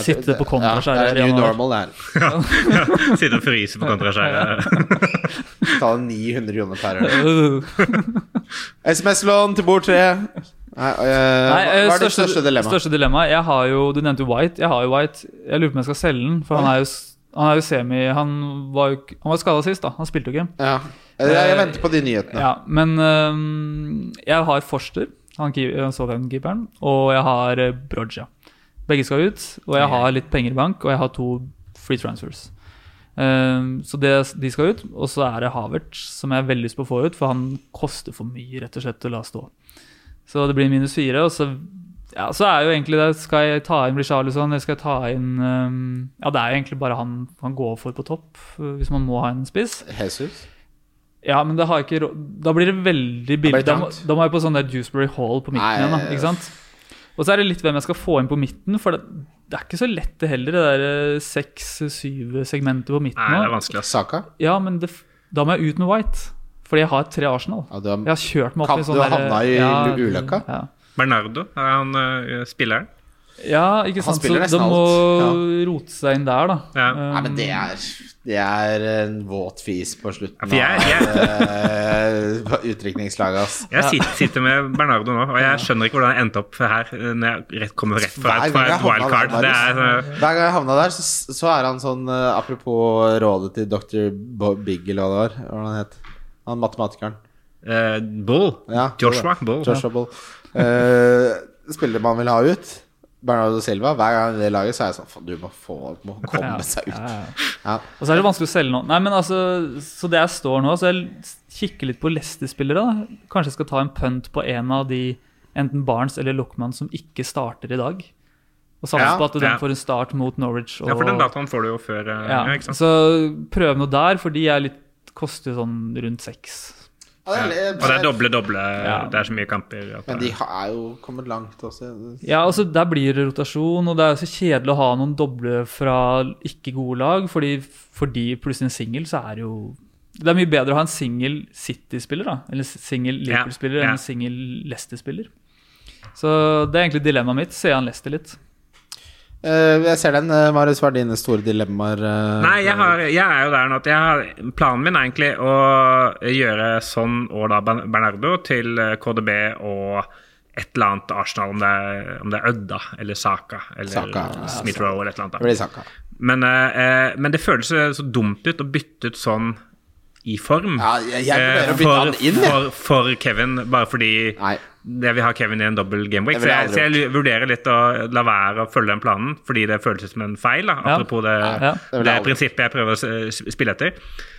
D: Sitte på kontra
C: ja,
D: skjære
C: Det er
D: i
C: new
D: januar.
C: normal, det her.
E: Sitte og fryse på eh. kontraskjæret.
C: [LAUGHS] Ta 900 kroner per øl.
D: Øh.
C: SMS-lån til bord tre. Nei, øh,
D: Nei, eh,
C: hva er ditt største dilemma?
D: Største dilemma Jeg har jo, Du nevnte jo White. Jeg har jo White. Jeg lurer på om jeg skal selge den, for han er jo, s- han er jo semi Han var jo ikke- Han var skada sist, da. Han spilte jo ikke.
C: Ja. Jeg, jeg venter på de nyhetene.
D: Eh, Ja, men øhm, jeg har Forster, han keep- øh, Southampton-keeperen, og jeg har eh, Broja. Begge skal ut, og jeg har litt penger i bank, og jeg har to free transfers. Øhm, så det, de skal ut, og så er det Havertz, som jeg har veldig lyst på å få ut, for han koster for mye rett og slett å la stå. Så det blir minus fire, og så Ja, så er jo egentlig det Skal jeg ta inn Richarlison, eller skal jeg ta inn ehm, Ja, det er jo egentlig bare han man går for på topp, øh, hvis man må ha en spiss.
C: Jesus.
D: Ja, men det har jeg ikke råd Da blir det veldig
C: blir
D: billig. Da, må-
C: trangt.
D: da må jeg på sånn der Dewsbury Hall på midten
C: Nei,
D: igjen, da.
C: ja, ja.
D: Ikke sant? Og så er det litt hvem jeg skal få inn på midten, for det, det er ikke så lett det heller, det der seks-syv segmentet på midten
E: Nei, det er
D: nå.
E: vanskelig. ass.
C: Saka?
D: Ja, men det, f- da må jeg ut med White, fordi jeg har tre Arsenal.
C: Ja, du har,
D: Jeg har kjørt meg opp
C: Kan-
D: i sånn
C: du
D: der-
C: havna i
D: ja,
C: ulykka?
D: Ja.
E: Bernardo, er han eh, spilleren?
D: Ja, ikke
C: Han
D: sant.
C: spiller nesten
D: så de må
C: alt.
D: rote seg inn der, da.
E: Ja.
D: Um,
C: Nei, men det er, det er en våt fis på
E: Ja,
C: slutten
E: for jeg, jeg,
C: av uh, utdrikningslaget, ass.
E: jeg sitter, sitter med Bernardo nå, og jeg skjønner ikke hvordan jeg endte opp her. eh, Når jeg rett, kommer rett fra
C: Hver
E: et, fra
C: gang jeg
E: et
C: havna
E: wildcard.
C: der,
E: Det er, eh,
C: Hver gang jeg havna der, så, så er han sånn eh, Apropos rådet til dr. Bo- Big, eller hva det var. Hva var det han het? Han matematikeren.
E: eh, Bull.
C: Ja,
E: Joshua Bull.
C: Joshua Bull. Eh, spillere man vil ha ut. Bernardo Silva. Hver gang det laget, så er jeg sånn Faen, du må få må komme
D: Ja,
C: seg ut.
D: ja, ja.
C: Ja.
D: Og så er det vanskelig å selge nå. Nei, men altså, Så det jeg står nå, så jeg kikker litt på Leicester-spillere. da. Kanskje jeg skal ta en punt på en av de, enten Barnes eller Lockman, som ikke starter i dag. Og satse
C: Ja,
D: på at
E: ja.
D: den får en start mot Norwich. Og,
E: Ja, for den dataen får du jo før eh,
D: Ja,
E: ja, ikke sant?
D: Så prøve noe der, for de er litt, koster sånn rundt seks.
C: Ja, det er-
E: Og det er doble, doble.
D: Ja.
E: Det er så mye kamper. At
C: Men de
E: det er-
C: har- er jo kommet langt også.
D: Ja, altså Der blir det rotasjon, og det er jo så kjedelig å ha noen doble fra ikke gode lag. Fordi, fordi plutselig en singel, så er det jo Det er mye bedre å ha en singel City-spiller, da. Eller singel Liverpool-spiller
E: Ja, ja.
D: enn en singel Leicester-spiller. Så det er egentlig dilemmaet mitt. Ser han Leicester litt?
C: Eh, jeg ser den. eh, Marius, hva er dine store dilemmaer? eh?
E: Nei, jeg, har, jeg er jo der nå at jeg har, planen min er egentlig å gjøre sånn og da Bern- Bernardo til eh, KDB og et eller annet Arsenal, om det er, om det er Ødda eller Saka eller
C: Saka, ja,
E: Smith-Roe eller et eller
C: Det
E: annet. da.
C: blir Saka.
E: Men, eh, eh, men det føles eh, så dumt ut å bytte ut sånn i form.
C: Ja, jeg, jeg vurderer
E: eh,
C: å bytte han inn, jeg.
E: for, for Kevin, bare fordi
C: Nei.
E: det vil ha Kevin i en dobbel gameweek.
C: Det
E: Så
C: ville
E: jeg,
C: jeg
E: så jeg vurderer litt å la være å følge den planen, fordi det føles som en feil. Da. Apropos det,
D: Ja.
E: det,
C: Det ville jeg aldri.
E: prinsippet jeg prøver å s- spille etter.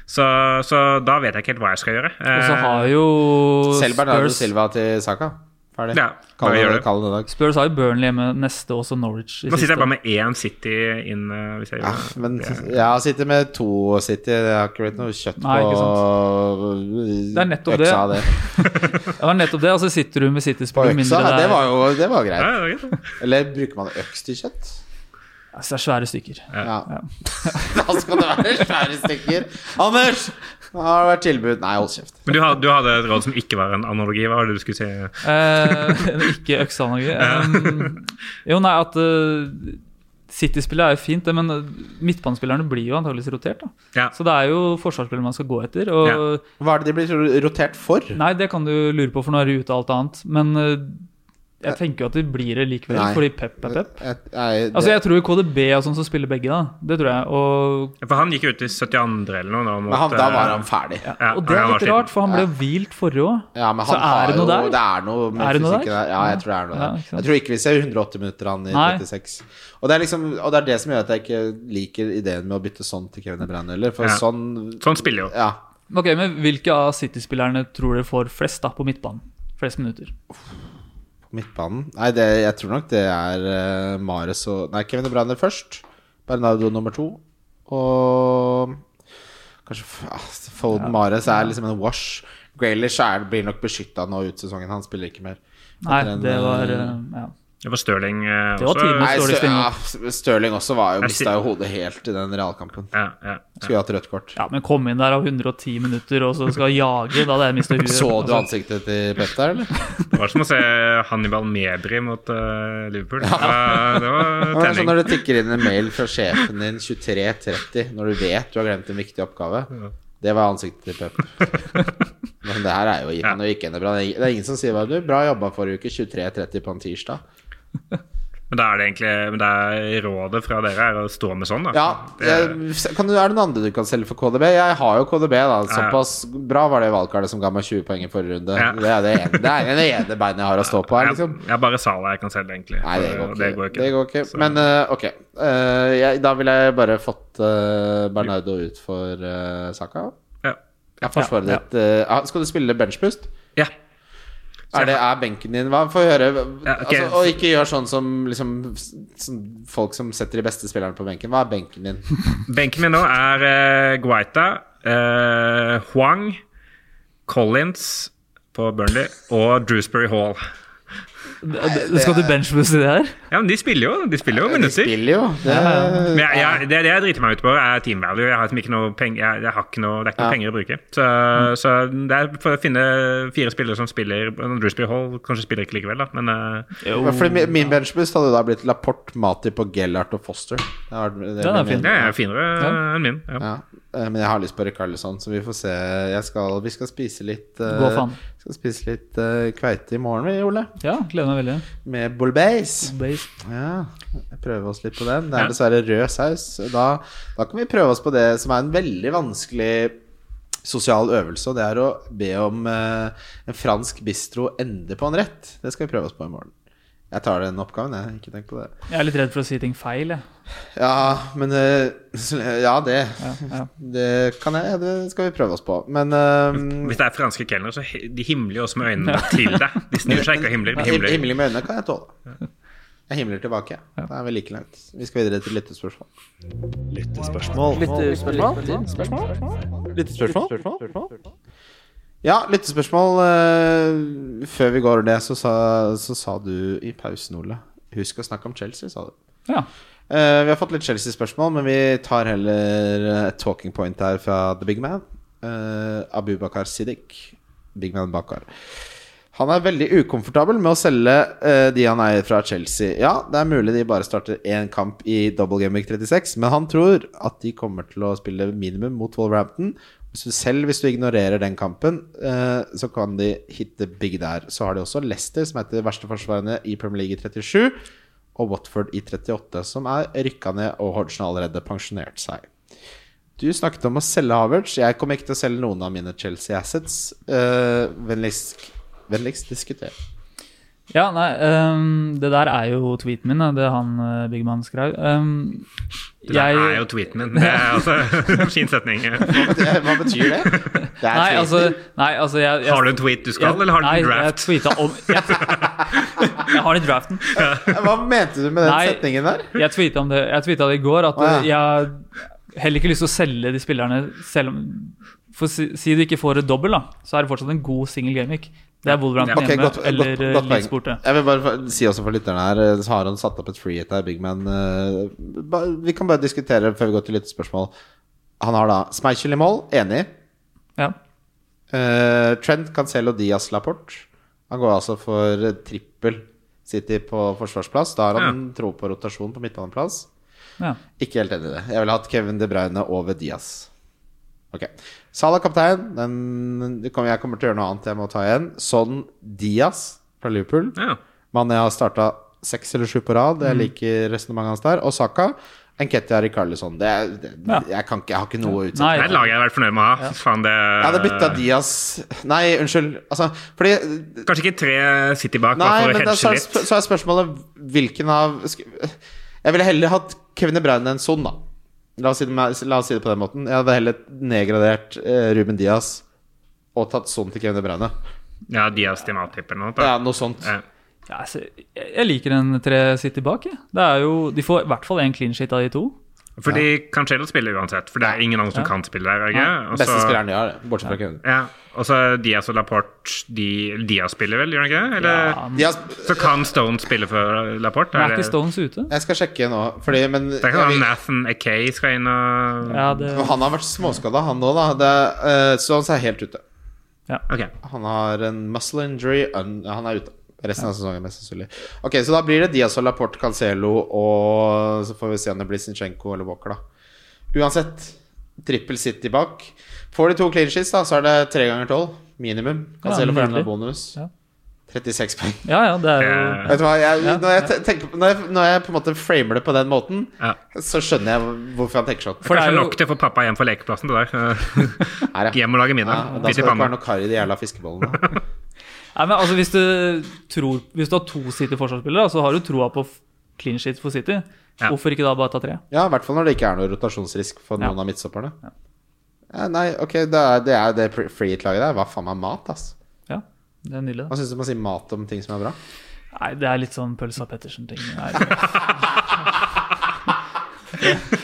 E: Så, så da vet jeg ikke helt hva jeg skal gjøre. Eh,
D: Og så har jo
C: Selv Bernardo
D: Spurs,
C: Silva til Saka. Ferdig.
E: Ja,
C: Kall
E: bare gjør
C: det
E: det.
C: kall det i dag.
D: Spurs har jo Burnley hjemme neste, også Norwich. i
E: Nå sitter
D: siste.
E: jeg bare med én City inn. eh, Hvis jeg
C: Ja,
E: gjør det.
C: men jeg sitter med to City. Det har ikke blitt noe kjøtt
D: Nei, ikke
C: på
D: Det er nettopp det.
C: øksa av det.
D: [LAUGHS] Det var nettopp det, og så sitter du med
C: På
D: City-spiller
C: øksa,
D: mindre
C: ja,
D: der.
C: det var jo det var
E: Ja,
C: greit.
E: det er greit.
C: Eller bruker man øks til kjøtt?
D: Altså, det er svære stykker.
C: Ja. [LAUGHS] da skal det være svære stykker. Anders! Nå har det vært tilbud. Nei, hold kjeft.
E: Men du hadde, du hadde et råd som ikke var en analogi. Hva var det du skulle si?
D: Eh, ikke økseanalogi. Um, jo, nei, at eh, City-spillet er jo fint, det, men eh, midtbanespillerne blir jo antakeligvis rotert. da.
E: Ja.
D: Så det er jo forsvarsspillere man skal gå etter. Og
E: Ja.
C: Hva er det de blir rotert for?
D: nei, det kan du lure på, for nå er de ute av alt annet. Men eh, jeg tenker jo at de blir det likevel,
C: Nei.
D: fordi pep er pep.
C: Et- nei, det-
D: Altså, jeg tror KDB og sånn som spiller begge, da. Det tror jeg. Og,
E: For han gikk jo ut i 72. eller noe. Nå, mot,
C: men han, da var
E: eh,
C: han ferdig. Ja,
E: ja,
D: og det
E: han
D: er
E: var
D: litt
E: sliten.
D: rart, for han ble jo hvilt forrige òg.
C: men
D: Så
C: han
D: er
C: har
D: det noe
C: jo-
D: der?
C: Det er noe med
D: Er det noe
C: fysikken
D: der?
C: der. Ja, jeg tror det er noe
D: Ja,
C: der.
D: ikke sant.
C: jeg tror ikke vi ser 108 minutter han i
D: Nei.
C: 36. Og det, er liksom, og det er det som gjør at jeg ikke liker ideen med å bytte sånn til Kevin Ebran heller, for
E: Ja.
C: sånn
E: Sånn spiller jo.
C: Ja.
D: Ok, men Hvilke av City-spillerne tror dere får flest da på midtbanen? Flest minutter?
C: på Midtbanen. Nei, det, jeg tror nok det er eh, Mares og Nei, Kevin Ebran først. Bernardo nummer to. Og kanskje f- ah, Foden Mares er liksom en wash. Graylish er, blir nok beskytta nå ut sesongen. Han spiller ikke mer.
D: Nei,
C: Etter en,
D: det var
C: eh,
D: eh, ja.
E: Det var Stirling eh,
D: Det var
E: også.
D: tidlig.
C: Nei,
D: Ståle
C: Stø- ja, Stirling også var jo
E: Jeg
C: mista jo hodet helt i den realkampen.
E: Ja, ja, ja.
C: Skulle jo hatt rødt kort.
D: Ja, men kom inn der av 110 minutter og så skal jage, da hadde jeg mistet huet.
C: Så du
D: Altså,
C: ansiktet til Pep der,
E: [LAUGHS]
C: eller?
E: Det var som å se Hannibal Medri mot eh, Liverpool. Eh,
C: [LAUGHS]
E: det
C: Det
E: var
C: er sånn
E: tenning.
C: når det tikker inn en mail fra sjefen din 23.30 når du vet du har glemt en viktig oppgave. Det var ansiktet til
E: [LAUGHS]
C: Pep. Men det her er jo han er jo ikke en bra. Det er ingen som sier hva du Bra jobba forrige uke, 23.30 på en tirsdag.
E: Men da er det egentlig men det er rådet fra dere er å stå med sånn, da.
C: Ja,
E: det,
C: jeg, kan du, Er det noen andre du kan selge for KDB? Jeg har jo KDB, da. Såpass bra var det valgkartet som ga meg 20 poeng i forrige runde.
E: Ja.
C: Det er det ene, det er det ene beinet jeg har å stå på her,
E: jeg,
C: liksom.
E: jeg er bare Sala jeg kan selge, egentlig.
C: Nei, det
E: Så
C: går ikke.
E: Det går ikke. Så-
C: Men eh, ok, Eh, jeg, da ville jeg bare fått eh, Bernardo ut for eh, Saka.
E: Ja.
C: Jeg forsvarer
D: Ja, ja.
C: ditt eh, ah, Skal du spille benchpust?
E: ja.
C: Er, det, er benken din Hva? Få høre.
E: Ja, ok.
C: altså, og ikke gjør sånn som, liksom, s- som folk som setter de beste spillerne på benken. Hva er benken
E: [LAUGHS]
C: din?
E: Benken min nå er eh, Guaita, eh, Huang, Collins på Burnley og Drewsbury Hall.
D: Skal du benchbooste det her?
E: Ja, men de spiller jo, de spiller jo minutter.
C: Spiller jo. Det,
E: Men jeg, jeg, det, det jeg driter meg ut på, er team value. Jeg har liksom ikke noe peng, jeg, jeg har ikke noe, det er ikke
C: Ja.
E: noe
C: Mm.
E: penger å bruke. Så, så det er for å finne fire spillere som spiller Drewsbury Hall kanskje spiller ikke likevel, da, men eh,
C: fordi min- min benchboost hadde da blitt Laporte, Matip og Gellert og Foster. Det har- det
D: Den er
C: min-
D: fin.
E: det er finere
D: Ja.
E: enn min. Ja.
C: Ja, eh, men jeg har lyst på Rikarlison, så vi får se. Jeg skal, vi skal spise litt eh,
D: Gå faen.
C: Skal spise litt eh, kveite i morgen, vi, Ole.
D: Ja, gleder meg veldig.
C: Med bouillabaisse.
D: Base.
C: Ja, prøve oss litt på den. Det
E: Ja.
C: er dessverre rød saus. Da, da kan vi prøve oss på det som er en veldig vanskelig sosial øvelse, og det er å be om eh, en fransk bistro ende på en rett. Det skal vi prøve oss på i morgen. Jeg tar den oppgaven, jeg. Ikke tenk på det.
D: Jeg er litt redd for å si ting feil, jeg.
C: Ja, men eh, Ja, det.
D: Ja, ja.
C: Det kan jeg. Det skal vi prøve oss på. Men eh,
E: Hvis det er franske kelnere, så he- de himler jo også med øynene til deg. De snur seg ikke og himler. De
C: him-
E: himler.
C: himling med øynene kan jeg tåle. Jeg himler tilbake. Det er vel like langt. Vi skal videre til lyttespørsmål. Ja, lyttespørsmål. eh, Før vi går over det, så sa, så sa du i pausen, Ole Husk å snakke om Chelsea, sa du.
D: Ja.
C: Eh, vi har fått litt Chelsea-spørsmål, men vi tar heller eh, et talking point her fra The Big Man. Uh, Abubakar Siddik. Big Man Bakar. Han er veldig ukomfortabel med å selge eh, de han eier fra Chelsea. Ja, det er mulig de bare starter én kamp i double game week 36, men han tror at de kommer til å spille minimum mot Wolverhampton. Hvis du, selv hvis du ignorerer den kampen, eh, så kan de hitte big der. Så har de også Leicester, som er et av de verste forsvarerne i Premier League i 37, og Watford i 38, som er rykka ned, og Hodgson har allerede pensjonert seg. Du snakket om å selge Havertz. Jeg kommer ikke til å selge noen av mine Chelsea assets. Eh, vennligst, vennligst diskuter.
D: Ja, nei, ehm, det der er jo tweeten min, da, det han uh, Bigman skrev. Ehm,
E: Det der er jo tweeten min. Det er altså [LAUGHS] fin
C: [LAUGHS]
E: setning. Har
C: Hva betyr det? Det er
D: Nei,
C: tweeten.
D: altså, nei, altså jeg, jeg,
E: du en tweet du skal, eller har du
D: nei,
E: en draft?
D: Jeg, tweetet om, jeg, jeg [LAUGHS] har den draften.
C: Hva mente du med den
D: Nei.
C: setningen der?
D: Jeg tweetet om det, jeg tweetet det i går, at
C: Å,
D: jeg heller ikke lyst til å selge de spillerne, selv om for å si, si du ikke får et dobbel, da, så er det fortsatt en god single gaming. Det er Wolverhampton
C: Ok,
D: hjemme
C: godt,
D: eller
C: godt, godt
D: eh, Leeds
C: poeng.
D: borte.
C: Jeg vil bare få- si også for lytterne her eh, Så har han satt opp et free hit her, Big Man. eh, ba- Vi kan bare diskutere før vi går til lyttespørsmål. Han har da Smeichel i mål, enig.
D: Ja.
C: Eh, Trent Cancelo Diaz Lapport. Han går altså for eh, trippel City på forsvarsplass. Da har han tro på rotasjon på midtbaneplass.
D: ja.
C: Ikke helt enig i det. Jeg ville hatt Kevin De Bruyne over Diaz. Ok. Salah kaptein. Den, det kommer- jeg kommer til å gjøre noe annet jeg må ta igjen. Son Diaz fra Liverpool.
E: Ja.
C: Mané har starta seks eller sju på rad.
D: Mm.
C: Jeg liker resonnementet hans der. Og Saka. Enketia Rikarlison. Det, er- det,
D: Ja.
C: jeg, kan ikke, jeg har ikke noe å utsette.
E: Det er et
D: Nei,
E: lag jeg har vært fornøyd med å ha. Fy Faen, det,
C: Jeg hadde bytta Diaz Nei, unnskyld. Altså, fordi
E: Kanskje ikke tre City bak, bare
C: Nei,
E: for å
C: men da, så,
E: hedge
C: er,
E: litt.
C: sp- så er spørsmålet hvilken av sk- Jeg ville heller hatt Kevin De Bruyne enn Son, da. La oss si det, med- la oss si det på den måten. Jeg hadde heller nedgradert eh, Ruben Diaz og tatt Son til Kevin De Bruyne.
E: Ja, Diaz til Matip eller noe. da.
C: Ja, noe sånt.
E: Ja.
D: ja, altså, jeg, jeg liker den tre City bak. Jeg. Det er jo, de får i hvert fall én clean shit av de to.
E: Fordi Cancelo spiller uansett, for det er ingen andre som
D: Ja.
E: kan spille der. Ikke? Og
C: Beste
E: så-
C: spilleren de har, det, bortsett fra Kevin.
E: Ja. Og så Diaz og Laporte de, Diaz spiller vel, gjør han ikke det? Eller,
D: Ja,
C: Diaz,
E: Så kan Stone spille for Laporte?
D: men er
E: det-
D: ikke Stones ute?
C: jeg skal sjekke nå, fordi Men
E: Det er
C: jeg
E: ikke sånn
C: vil-
E: Nathan Akay skal inn og
D: Ja, det,
C: men han har vært småskada, han nå, da. Det, eh, så han er helt ute.
E: Ok.
C: Han har en muscle injury. Un han er ute resten av sesongen, mest sannsynlig. Ok, Så da blir det Diaz og Laporte, Cancelo og Så får vi se om det blir Zinchenko eller Walker, da. Uansett, trippel City bak. Får de to clean sheets, da, så er det tre ganger tolv. Minimum. Cancelo
D: Ja,
C: får
D: nydelig.
C: en av bonus.
D: Ja.
C: 36 poeng.
D: ja, ja, det er jo
E: Eh,
C: Vet du hva, jeg, når, jeg te- tenker, på- når, jeg, når jeg på en måte framer det på den måten,
E: Ja.
C: så skjønner jeg hvorfor han tenker sånn.
D: For det
E: Kanskje
D: er jo-
E: nok til å få pappa hjem fra lekeplassen. Det der.
C: Her, ja.
E: [LAUGHS] hjem og lage
C: Ja,
E: middag.
C: da
E: Bitt i
C: skal det ikke være
E: panna.
C: noe kar i de jævla fiskebollene.
D: Nei, men altså, hvis du, tror, hvis du har to City-forsvarsspillere, da, så har du troa på f- clean shit for City.
E: Ja.
D: Hvorfor ikke da bare ta tre?
C: Ja, i hvert fall når det ikke er noe rotasjonsrisk for
D: Ja.
C: noen av midtstopperne. Eh, Ja. nei, ok, det er det, er det pre- free hit-laget der. Hva faen meg mat, ass?
D: Ja. Det er nydelig.
C: Hva syns du man sier mat om ting som er bra?
D: da. Nei, det er litt sånn pølsa Pettersen-ting.
C: [LAUGHS]
D: Nei,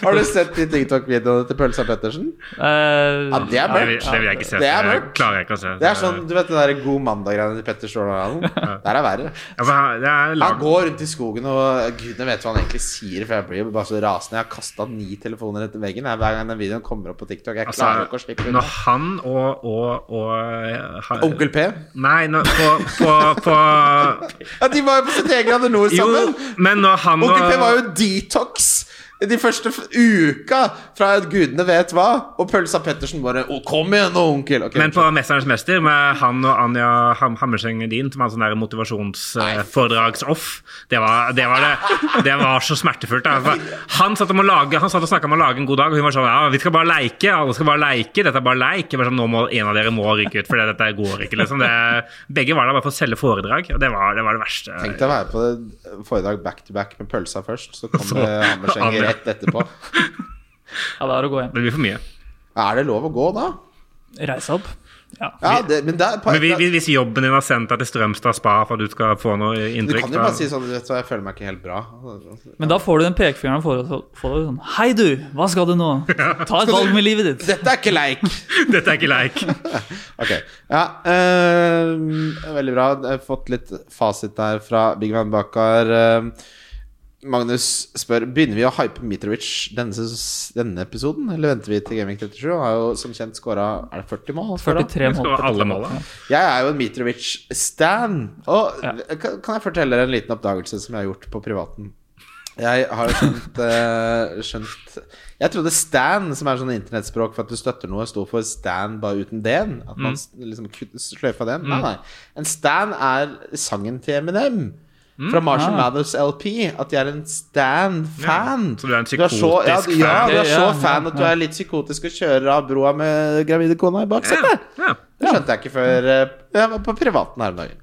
C: Har du sett de TikTok-videoene til Pølsa Pettersen?
D: eh,
C: Ja, det er
E: Det vil,
C: mørkt.
E: det vil jeg ikke se.
C: Det er
E: så jeg
C: mørkt.
E: klarer jeg ikke å se.
C: Det er sånn, du vet den der God mandag-greiene til Petter Stordalen? Der er verre.
E: Ja, men han- det er
C: Han
E: lag,
C: går rundt i skogen og gudene vet hva han egentlig sier, for jeg blir bare så rasende. Jeg har kasta ni telefoner etter veggen jeg, hver gang den videoen kommer opp på TikTok. Jeg klarer ikke å
E: altså,
C: slippe unna.
E: når han og, og, og ha-
C: Onkel P?
E: Nei, når, på, på, på
C: Ja, de var jo på sitt eget Grader Nord
E: Jo,
C: sammen!
E: men når han og
C: Onkel P var jo detox de første f- uka fra at gudene vet hva, og Pølsa Pettersen bare Å, kom igjen nå, onkel! Ok,
E: Men på 'Mesterens mester', med han og Anja Ham Hammerseng Edin, som hadde sånn der motivasjonsforedrags-off, det var det, var det det var så smertefullt. Da. For Han satt, om å lage, han satt og snakka om å lage en god dag, og hun var sånn ja, 'Vi skal bare leike, alle skal bare leike, dette er bare leik'. Jeg var sånn, 'Nå må en av dere må ryke ut, for dette går ikke', liksom. Det, begge var der bare for å selge foredrag, og det var det, var det verste.
C: Tenk deg å være på det- foredrag back to back med pølsa først, så
E: [LAUGHS]
C: kommer Hammerseng
E: Anja.
C: rett etterpå.
D: ja, det er å gå hjem.
E: Det blir for mye.
C: Er det lov å gå da?
D: Reise opp. Ja.
C: Ja, det, men der,
E: Men vi- vi- hvis jobben din har sendt deg til Strømstad spa for at du skal få noe
C: Du
E: inntrykk
C: kan jo bare
E: da-
C: si sånn Vet du hva, jeg føler meg ikke helt bra.
D: Men da får du den pekefingeren for å få deg sånn Hei, du! Hva skal du nå? Ta et valg med livet ditt.
C: Dette er ikke leik!
E: [LAUGHS] Dette er ikke leik.
C: [LAUGHS] Ok. Ja, eh, veldig bra. Jeg har fått litt fasit der fra Big Van Bakar. Eh, Magnus spør Begynner vi å hype Mitrovic denne, ses- denne episoden, eller venter vi til Gaming 37? Han har jo som kjent skåra 40 mål. han scoret.
D: 43
E: Skal
D: mål.
E: ha alle måla.
C: Jeg er jo en Mitrovic-stan. Og
D: Ja.
C: kan, kan jeg fortelle dere en liten oppdagelse som jeg har gjort på privaten? Jeg har skjønt, eh, skjønt Jeg trodde stan, som er sånn internettspråk for at du støtter noe, sto for stan bare uten d-en. At
E: Mm.
C: man s- liksom kutt- sløyfa den. Nei, nei. En stan er sangen til Eminem. Fra Marshall
D: Ah.
C: Mathers LP. At de er en stan-fan.
E: Mm. Ja, så du er en
C: så, ja,
E: psykotisk
C: ja,
E: fan.
C: du er
D: Ja,
C: så
D: ja,
C: fan
D: ja,
C: at du er litt psykotisk og kjører av broa med gravide kona i baksetet.
E: Ja.
C: Det skjønte jeg ikke før eh, jeg var på privaten her om dagen.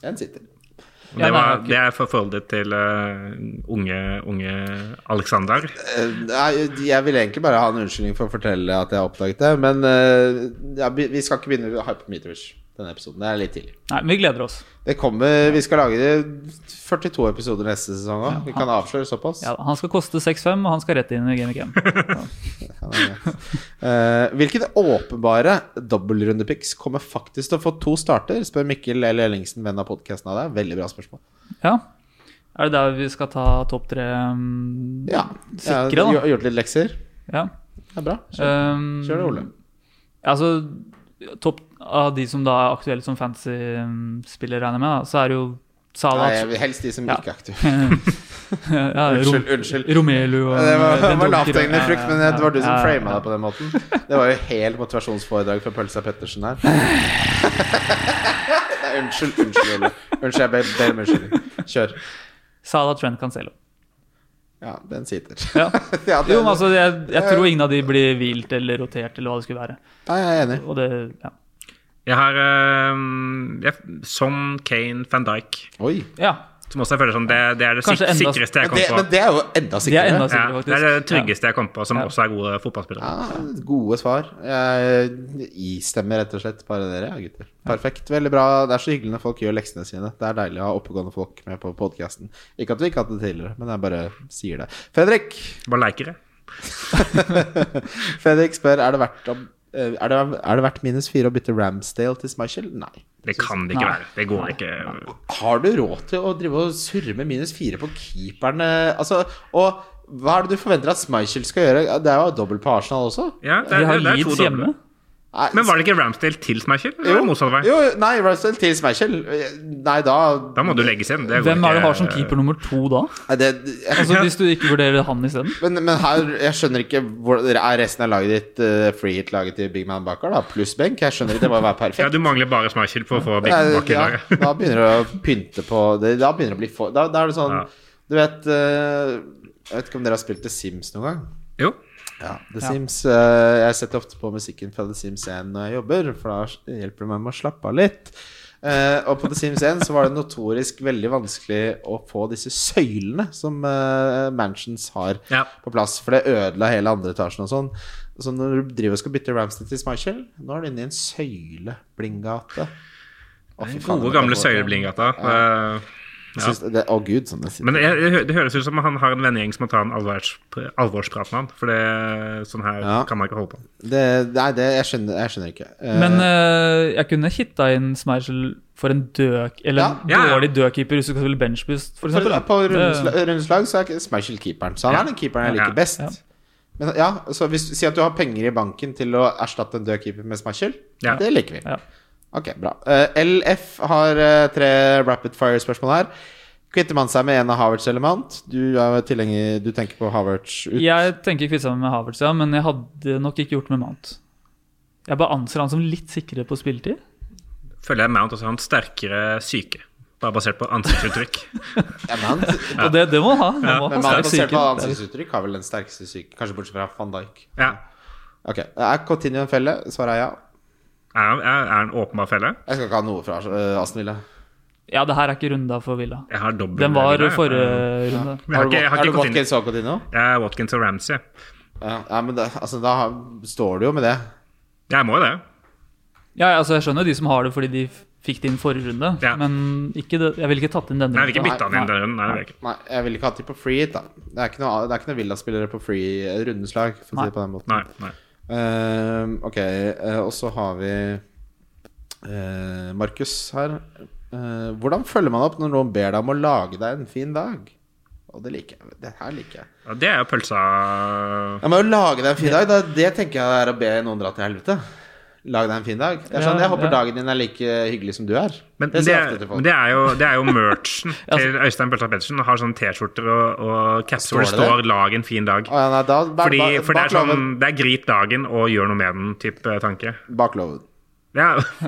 C: Den sitter.
E: Og Det,
D: Ja,
E: var,
D: nei,
E: det er forholdet til eh, unge, unge Alexander.
C: Eh, Nei, jeg ville egentlig bare ha en unnskyldning for å fortelle at jeg oppdaget det, men eh, ja, vi vi skal ikke begynne å hype Mitrovic denne episoden. Det er litt tidlig.
D: Nei, men vi gleder oss.
C: Det kommer, Vi skal lage 42 episoder neste sesong òg. Vi kan avsløre såpass.
D: Ja, han skal koste 6-5, og han skal rett inn i Game
C: [LAUGHS]
D: of Game.
C: Ja, det er greit. Eh, hvilke åpenbare dobbeltrundepics kommer faktisk til å få to starter? Spør Mikkel L. Ellingsen, venn av podkasten av deg. Veldig bra spørsmål.
D: Ja. Er det der vi skal ta topp tre um,
C: Ja,
D: Sikre,
C: jeg
D: da.
C: har gjort litt lekser.
D: ja.
C: Det er bra. Kjør,
D: Um,
C: kjør det, Ole.
D: Altså, topp av de som da er aktuelle som fantasy-spillere, regner jeg med, da, så er det jo Salah
C: Nei, jeg vil helst de som
D: Ja.
C: ikke er aktive.
D: ja,
C: Unnskyld,
D: Rom-
C: unnskyld.
D: Romelu og
C: Det var, det
D: eh, den
C: var
D: dukker-
C: lavthengende frukt, men det var du som
D: ja, ja,
C: frama
D: ja.
C: det på den måten. Det var jo helt motivasjonsforedrag fra Pølsa Pettersen her. [LAUGHS] Nei, unnskyld, unnskyld, Ole. Unnskyld, jeg ber ber om unnskyldning. Kjør.
D: Salah Trent Cancelo.
C: Ja, den sitter.
D: Ja.
C: [LAUGHS] Ja, det-
D: Jo, men altså, jeg, jeg tror ingen av de blir hvilt eller rotert eller hva det skulle være.
C: Nei, jeg er enig.
D: Og det, ja.
E: Jeg har eh, jeg, Son, Kane, van Dijk.
C: Oi.
D: ja.
E: Som også jeg føler sånn, det, det er det
D: Kanskje
E: sik
D: enda-
E: sikreste jeg
C: Men det,
E: kom
C: men
E: på.
C: det er jo enda
D: De er enda
C: sikrere.
E: Ja,
D: sikrere, faktisk.
E: det er det
D: Ja.
E: tryggeste jeg kom på, som
D: Ja.
E: også er gode fotballspillere.
C: Ja, gode svar. Jeg istemmer rett og slett bare dere, ja, gutter. Perfekt. Veldig bra. Det er så hyggelig når folk gjør leksene sine. Det er deilig å ha oppegående folk med på podkasten. Ikke at vi ikke har hatt det tidligere, men jeg bare sier det. Fredrik, [LAUGHS]
E: Bare leikere.
C: Fredrik spør er det verdt å eh, er det, er det verdt minus fire å bytte Ramsdale til Smichel? Nei.
E: Det kan det ikke
D: Nei.
E: være. Det går ikke.
C: Har du råd til å drive og surre med minus fire på keeperne? Altså, og hva er det du forventer at Smichel skal gjøre? Det er jo dobbelt på Arsenal også.
E: Ja, det,
D: De
E: er-
D: har
E: det er to
D: Leeds hjemme.
E: doble.
C: Nei,
E: Men var det ikke Ramsdale til Smasher? Eller motsatt vei?
C: jo, nei, Ramsdale til Smichel. Nei, da
E: Da må du legges inn. Det går
D: Hvem er det
E: ikke.
D: har som keeper nummer to da?
C: Nei, det, jeg,
D: Altså Hvis du ikke vurderer han isteden?
C: men, men her, jeg skjønner ikke hvor, Er resten av laget ditt eh, free hit-laget til Big Man Bakar, da? Pluss benk? Jeg skjønner ikke, det må jo være
E: Ja,
C: perfekt.
E: du mangler bare Smasher for å få Big
C: Nei,
E: Mac i
C: ja,
E: laget. [LAUGHS]
C: da begynner det å pynte på det, Da begynner det å bli for Da, da er det sånn
E: Ja.
C: Du vet eh, Jeg vet ikke om dere har spilt The Sims noen gang?
E: Jo.
C: Ja, The
D: Ja.
C: Sims eh, Jeg setter ofte på musikken fra The Sims 1 når jeg jobber, for da hjelper det meg med å slappe av litt. Eh, og på The Sims 1 så var det notorisk veldig vanskelig å få disse søylene som eh, mansions har,
E: Ja.
C: på plass, for det ødela hele andre etasjen og sånn. Så når du driver og skal bytte Ramsted til Smichel, nå er du inne i en søyle, blindgate. Å, fy faen,
E: Gode,
C: det er
E: gamle
C: godt.
E: Søyleblindgata. Eh,
C: Jeg synes det- Å, gud, som det sitter.
E: Men jeg, det hø- det høres ut som han har en vennegjeng som må ta en alvors, alvorsprat med han. For det, sånn her
C: Ja.
E: kan man ikke holde på.
C: det, Nei, det, jeg, skjønner, jeg skjønner ikke. Eh,
D: Men eh, jeg kunne hitta inn Smergel for en døk Eller en
E: Ja, ja, ja.
D: dårlig dødkeeper hvis du skal spille benchboost, for
C: For,
D: eksempel. da.
C: på
D: Det-
C: rundesla- rundslag så er ikke Smashel keeperen. Så han
E: Ja.
C: er den keeperen jeg
E: Ja.
C: liker best.
D: Ja.
C: Men ja, så hvis, Si at du har penger i banken til å erstatte en død keeper med Smashel.
E: Ja.
C: Det liker vi.
D: Ja.
C: Ok, bra. Eh, LF har eh, tre rapid fire-spørsmål her. Kvitter man seg med en av Havertz element? Du er tilhenger Du tenker på Havertz ut.
D: Jeg tenker kvitte meg med Havertz, ja, men jeg hadde nok ikke gjort med Mount. Jeg bare anser han som litt sikrere på spilletid.
E: Føler jeg Mount også har en sterkere syke, bare basert på
C: [LAUGHS]
E: ansiktsuttrykk.
C: Ja, men han-
D: Og det, det må han ha. Han må
C: men
D: ha
C: han
D: sterk
C: basert på
D: psyke.
C: ansiktsuttrykk har vel den sterkeste psyken, kanskje bortsett fra van Dijk.
E: ja.
C: Ok, Er Coutinho en felle? Svaret er ja.
E: er, han- er han en åpenbar felle?
C: Jeg skal ikke ha noe fra eh, Aston Villa.
D: Ja, det her er ikke runda for Villa.
E: Jeg har dobbelt
D: Den var
E: Villa, jeg.
D: forrige runde.
E: Jeg har
C: Har du,
E: ikke, jeg har
C: er
E: ikke
C: du
E: gått inn
C: Watkins og Coutinho?
E: Jeg er Watkins og Ramsey.
C: Ja, ja men da, altså, da har- står du jo med det.
E: Jeg må jo det.
D: Ja, ja, altså Jeg skjønner de som har det fordi de f- fikk det inn forrige runde,
E: Ja.
D: men ikke det, jeg ville ikke tatt inn denne.
E: Nei, jeg vil ikke
D: runden.
E: bytte han inn den runden. Nei, det vil jeg ikke.
C: Nei, jeg ville ikke hatt de på free hit, da. Det er ikke noe, det er ikke noe Villa-spillere på free eh, rundeslag, for å si
D: Nei.
C: det på den måten.
E: Nei, nei.
C: Ehm, ok, eh, og så har vi eh, Markus her. Eh, hvordan følger man opp når noen ber deg om å lage deg en fin dag? Og det liker jeg. Det her liker jeg.
E: Ja, Det er jo pølsa
C: Ja, men å lage deg en fin dag, da, det tenker jeg er å be noen dra til helvete. Lag deg en fin dag. Jeg, skjønner, jeg
D: Ja,
C: håper
D: ja.
C: dagen din er like hyggelig som du er.
E: Men
C: det
E: det,
C: sier jeg ofte til folk.
E: men det er jo, det er jo merchen til Øystein Pølsa Pettersen. Han har sånne T-skjorter og, og caps hvor det
C: Står det
E: står 'lag en fin dag'.
C: Å, ja, nei, da, bak,
E: Fordi,
C: bak,
E: for det er
C: bak
E: sånn
C: loven.
E: Det er grip dagen og gjør noe med den type tanke.
C: Bak loven.
E: Ja.
D: [LAUGHS]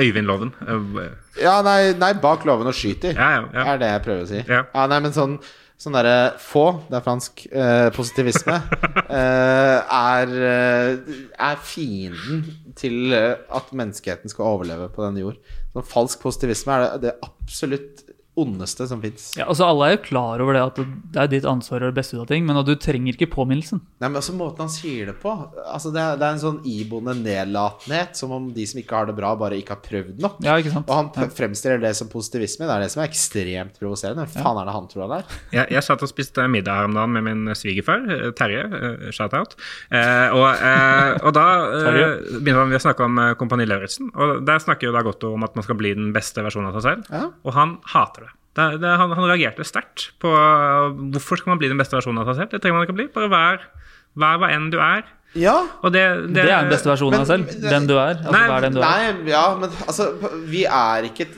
E: Øyvind Loven. Eh,
C: Ja, nei, nei bak låven og skyter,
E: Ja, ja, ja.
C: er det jeg prøver å si.
E: Ja.
C: nei, men sånn, sånn derre få, det er fransk, eh, positivisme,
E: [LAUGHS]
C: eh, er, eh, er fienden til eh, at menneskeheten skal overleve på denne jord. Sånn falsk positivisme er det, det absolutt ondeste som fins.
D: Ja, altså Alle er jo klar over det at det er ditt ansvar å gjøre det beste ut av ting, men at du trenger ikke påminnelsen.
C: Nei, men også måten han sier det på. Altså, det, er, det er en sånn iboende nedlatenhet, som om de som ikke har det bra, bare ikke har prøvd nok.
D: Ja, ikke sant?
C: Og han p- fremstiller det som positivisme. Det er det som er ekstremt provoserende. Hvem faen er det han tror han er?
E: Jeg, jeg satt og spiste middag her om dagen med min svigerfar, eh, Terje. eh, Shout-out. Eh, og, eh, og da eh,
D: Terje.
E: begynte vi å snakke om eh, Kompani Lauritzen. Og der snakker jo da godt om at man skal bli den beste versjonen av seg selv.
C: Ja.
E: Og han hater det. det, det han, han reagerte sterkt på eh, hvorfor skal man bli den beste versjonen av seg selv. Det trenger man ikke å bli. Bare vær, vær hva enn du er.
C: Ja,
E: Og det,
D: Det er den beste versjonen
C: Men-
D: av deg selv.
C: men-
D: Den du er. Altså,
E: Nei,
D: hva er den du er?
C: Nei, ja, men altså Vi er ikke et,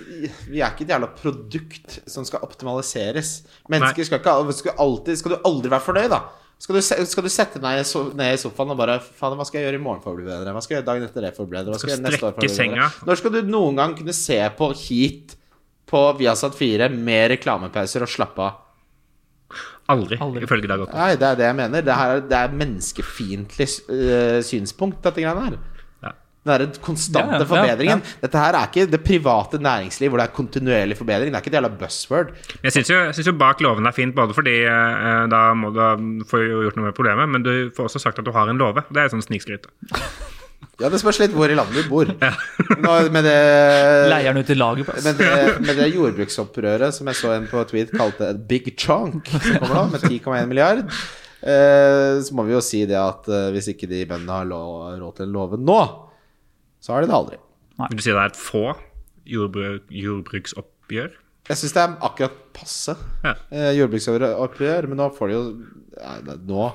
C: vi er ikke et jævla produkt som skal optimaliseres. Mennesker
E: Nei.
C: skal ikke skal alltid Skal du aldri være fornøyd, da? Skal du, se- skal du sette deg ned i so- ned i sofaen og bare Faen, hva skal jeg gjøre i morgen for å bli bedre? Hva skal jeg gjøre dagen etter det for å bli bedre? Hva skal jeg gjøre neste år for å bli
E: strekke
C: bedre?
E: senga.
C: Når skal du noen gang kunne se på Heat på Viasat 4 med reklamepauser og slappe av?
E: Aldri,
D: Aldri.
E: ifølge Dag Otto.
C: Nei, det er det jeg mener. Det, her, det er menneskefiendtlig øh, synspunkt, dette greiene her.
E: Ja.
C: Det er den konstante
D: Ja, ja,
C: forbedringen. Dette her er ikke det private næringsliv hvor det er kontinuerlig forbedring. Det er ikke et jævla buzzword.
E: Men Jeg syns jo, jeg synes jo bak låven er fint, både fordi eh, da må du få gjort noe med problemet, men du får også sagt at du har en låve. Det er sånn snikskryt.
C: Ja, Det spørs litt hvor i landet du bor. Nå, med det
D: Leier den ut i laget. på, ass.
C: med det, med det jordbruksopprøret som jeg så en på tweet kalte et Big Chunk, som kommer nå, med 10,1 milliard, eh, så må vi jo si det at eh, hvis ikke de bøndene har lå- råd til en låve nå, så har de det aldri.
E: [LAUGHS] Vil du si det er et få jordbruk, jordbruksoppgjør?
C: Jeg syns det er akkurat passe
E: Ja.
C: eh, jordbruksoppgjør, men nå får de jo Nei, det, er nå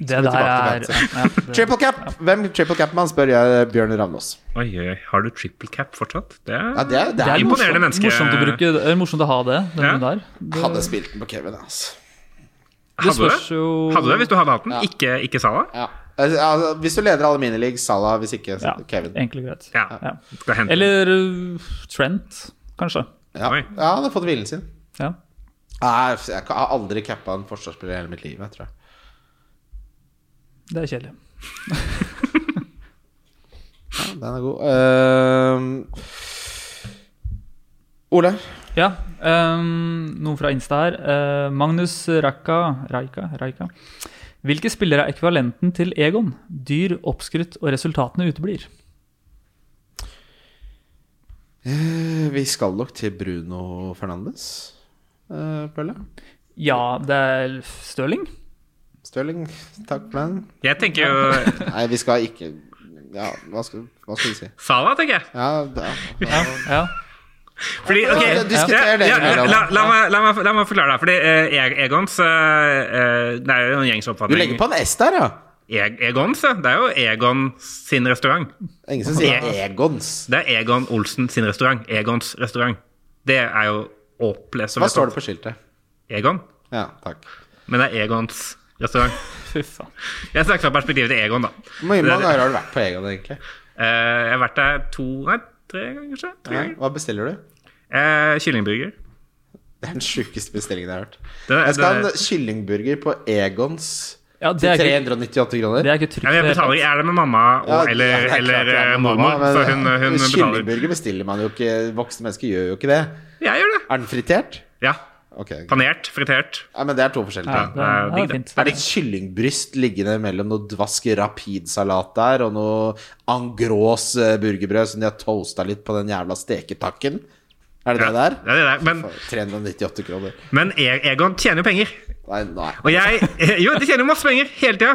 D: Det der
C: tilbake
D: er
C: til
D: ja, det,
C: Triple cap! Hvem triple cap man spør jeg eh, Bjørn Ravnås.
E: Oi, oi, oi. har du triple cap fortsatt? Det er,
C: Ja, det er, det
D: det
C: er
D: er
E: Imponerende
D: morsomt,
E: menneske.
D: morsomt, å bruke, det er morsomt å ha det. Den
E: Ja.
D: der.
C: Jeg Hadde spilt den på Kevin, altså.
E: hadde, du
D: spørs
E: det?
D: jo-
E: hadde du det hvis du hadde hatt den? Ikke, ikke Sala?
C: Ja. Altså, altså, hvis du leder alle minileague, Salah hvis ikke så
D: Ja,
C: Kevin.
D: enkelt og greit.
E: Ja.
D: Ja.
E: Skal hente den.
D: Eller uh, Trent, kanskje.
C: Ja.
E: Oi.
C: ja, han har fått hvilen sin.
D: Ja.
C: Nei, jeg har aldri cappa en forsvarsspiller i hele mitt liv, jeg tror jeg.
D: Det er kjedelig.
C: Ja, den er god. Ehm, Ole?
D: Ja, ehm, noen fra Insta her. Eh, Magnus Raka, Raika, Raika. Hvilke spillere er ekvivalenten til Egon? Dyr, oppskrytt, og resultatene uteblir.
C: Eh, vi skal nok til Bruno Fernandes, eh, Pølle.
D: Ja, det er Stirling.
C: Stirling, takk for den.
E: Jeg tenker jo eh,
C: Nei, vi skal ikke Ja, hva skal, hva skal vi si?
E: Sala, tenker jeg.
C: Ja, da,
D: Ja, ja.
E: Fordi, ok,
C: Ja, diskuter det
E: ja,
C: du vil,
E: ja,
C: Adam.
E: la, la, meg, la, meg, la meg forklare deg. Fordi eh, Eg- Egons eh, eh, Det er jo en gjengs
C: Du
E: oppfatning.
C: legger på en S der, ja?
E: E- Egons, ja. Det er jo Egon sin restaurant.
C: Ingen som sier
E: Ja.
C: Egons.
E: Det er Egon Olsen sin restaurant. Egons restaurant. Det er jo opplest.
C: Hva står det på skiltet?
E: Egon.
C: Ja, takk.
E: Men det er Egons restaurant.
D: Fy faen.
E: Jeg snakker fra perspektivet til Egon, da.
C: Hvor mange
E: Det-
C: ganger har du vært på Egon, egentlig?
E: Eh, jeg har vært der to Nei, tre ganger, kanskje. Tre
C: Ja,
E: ganger.
C: hva bestiller du?
E: Eh, kyllingburger.
C: Det er den sjukeste bestillingen jeg har hørt.
E: Det,
C: Jeg skal ha
E: det,
C: en kyllingburger på Egons
D: Ja, det
C: til
D: er ikke,
C: 398 kroner.
D: det er ikke trygt.
E: ja, men jeg betaler ikke. Er det med mamma og,
C: Ja,
E: eller,
C: ja, det er klart
E: eller
C: jeg er
E: eh,
C: med
E: mormor?
C: mamma,
E: så
C: men
E: hun, hun betaler.
C: Kyllingburger bestiller man jo ikke. Voksne mennesker gjør jo ikke det.
E: Jeg gjør det.
C: Er den fritert?
E: Ja.
C: Ok.
E: Panert, fritert.
C: Ja, men det er to forskjellige
D: Ja,
C: ting.
D: det er, det
E: digg,
D: er
E: det.
D: fint.
C: Det er litt kyllingbryst liggende mellom noe dvask rapidsalat der og noe angrås eh, burgerbrød som de har toasta litt på den jævla steketakken. Er det
E: Ja,
C: det der?
E: det er det der. Men,
C: For 398 kroner.
E: men E- Egon tjener jo penger.
C: Nei, nei.
E: Og jeg [LAUGHS] Jo, de tjener masse penger hele tida.